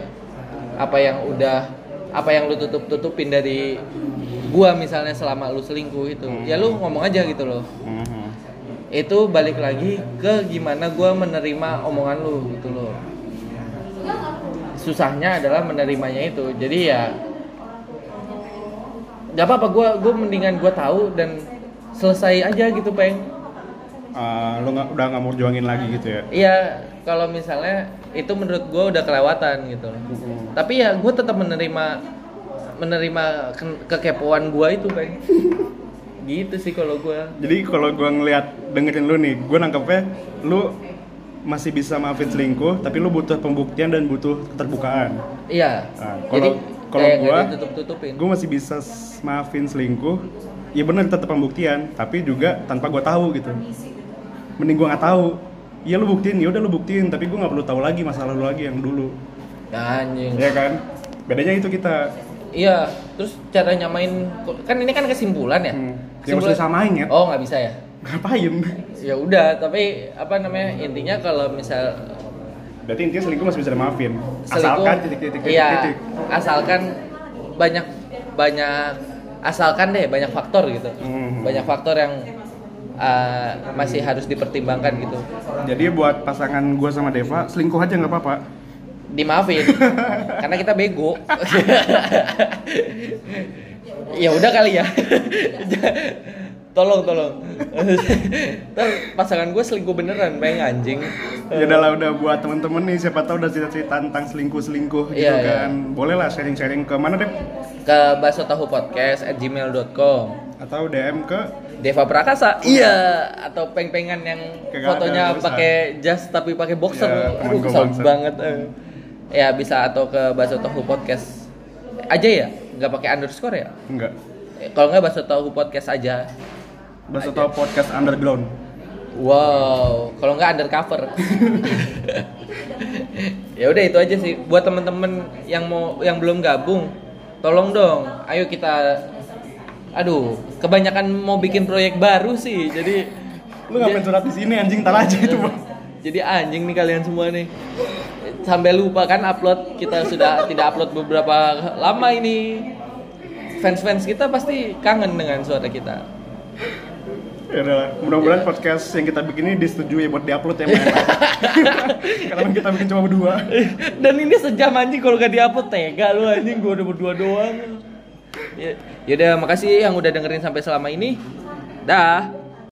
A: apa yang udah apa yang lu tutup tutupin dari gua misalnya selama lu selingkuh itu ya lu ngomong aja gitu loh itu balik lagi ke gimana gua menerima omongan lu gitu loh susahnya adalah menerimanya itu jadi ya nggak apa-apa gua gua mendingan gua tahu dan selesai aja gitu peng
B: Eh, lu nggak udah nggak mau juangin lagi gitu ya.
A: Iya, kalau misalnya itu menurut gue udah kelewatan gitu. Tapi ya gue tetap menerima menerima ke- kekepoan gue itu bang. [LAUGHS] gitu sih kalau gue.
B: Jadi kalau gua ngelihat dengerin lu nih, gua nangkepnya lu masih bisa maafin selingkuh, tapi lu butuh pembuktian dan butuh keterbukaan.
A: Iya.
B: Nah,
A: Jadi
B: kalau- kalau
A: kayak
B: gua-
A: tutup tutupin.
B: Gue masih bisa s- maafin selingkuh, ya bener tetap pembuktian, tapi juga tanpa gue tahu gitu. Mending gue nggak tahu. Ya lu buktiin, ya udah lu buktiin, tapi gue nggak perlu tahu lagi masalah lu lagi yang dulu.
A: Anjing.
B: Ya kan? Bedanya itu kita.
A: Iya. Terus cara nyamain kan ini kan kesimpulan ya.
B: Hmm. Ya harus disamain ya.
A: Oh nggak bisa ya.
B: Ngapain?
A: Ya udah. Tapi apa namanya intinya kalau misal
B: Berarti intinya selingkuh masih bisa dimaafin.
A: Selingkuh,
B: Asalkan titik-titik
A: iya,
B: titik-titik.
A: asalkan banyak banyak asalkan deh banyak faktor gitu
B: Hmm.
A: banyak faktor yang uh, masih harus dipertimbangkan gitu
B: Jadi buat pasangan gue sama Deva, selingkuh aja nggak apa-apa. [LAUGHS]
A: dimaafin karena kita bego ya udah kali ya [LAUGHS] tolong tolong [LAUGHS] Ntar pasangan gue selingkuh beneran pengen anjing
B: Ya udah lah, udah buat temen-temen nih, siapa tahu udah cerita-cerita tentang selingkuh-selingkuh gitu
A: Iya, iya.
B: kan. Boleh lah sharing-sharing ke mana deh?
A: ke baso tahu podcast at gmail.com
B: Atau DM ke
A: Deva Prakasa. Iya, atau peng-pengan yang
B: Kagak
A: fotonya
B: ada tulisan.
A: pakai jas tapi pakai boxer.
B: Iya, temen
A: Aduh,
B: gua
A: kesel
B: bangsat.
A: banget. eh. Ya bisa atau ke Baso Tahu Podcast aja ya, nggak pakai underscore ya.
B: enggak.
A: Eh, Kalau nggak Baso Tahu Podcast aja.
B: Udah setau podcast underground.
A: Wow, kalau nggak undercover. [LAUGHS] ya udah itu aja sih. Buat temen-temen yang mau yang belum gabung, tolong dong. Ayo kita. Aduh, kebanyakan mau bikin proyek baru sih. Jadi
B: Lu ngapain curhat di sini anjing tar aja itu, Bang.
A: jadi anjing nih kalian semua nih. Sampai lupa kan upload kita sudah tidak upload beberapa lama ini. Fans-fans kita pasti kangen dengan suara kita.
B: Ya udah lah. mudah-mudahan podcast yang kita bikin ini disetujui buat diupload ya, Bang. [LAUGHS] Karena kita bikin cuma berdua.
A: [LAUGHS] Dan ini sejam anjing kalau gak diupload tega lu anjing gua udah berdua doang. Ya, yaudah makasih yang udah dengerin sampai selama ini. Dah.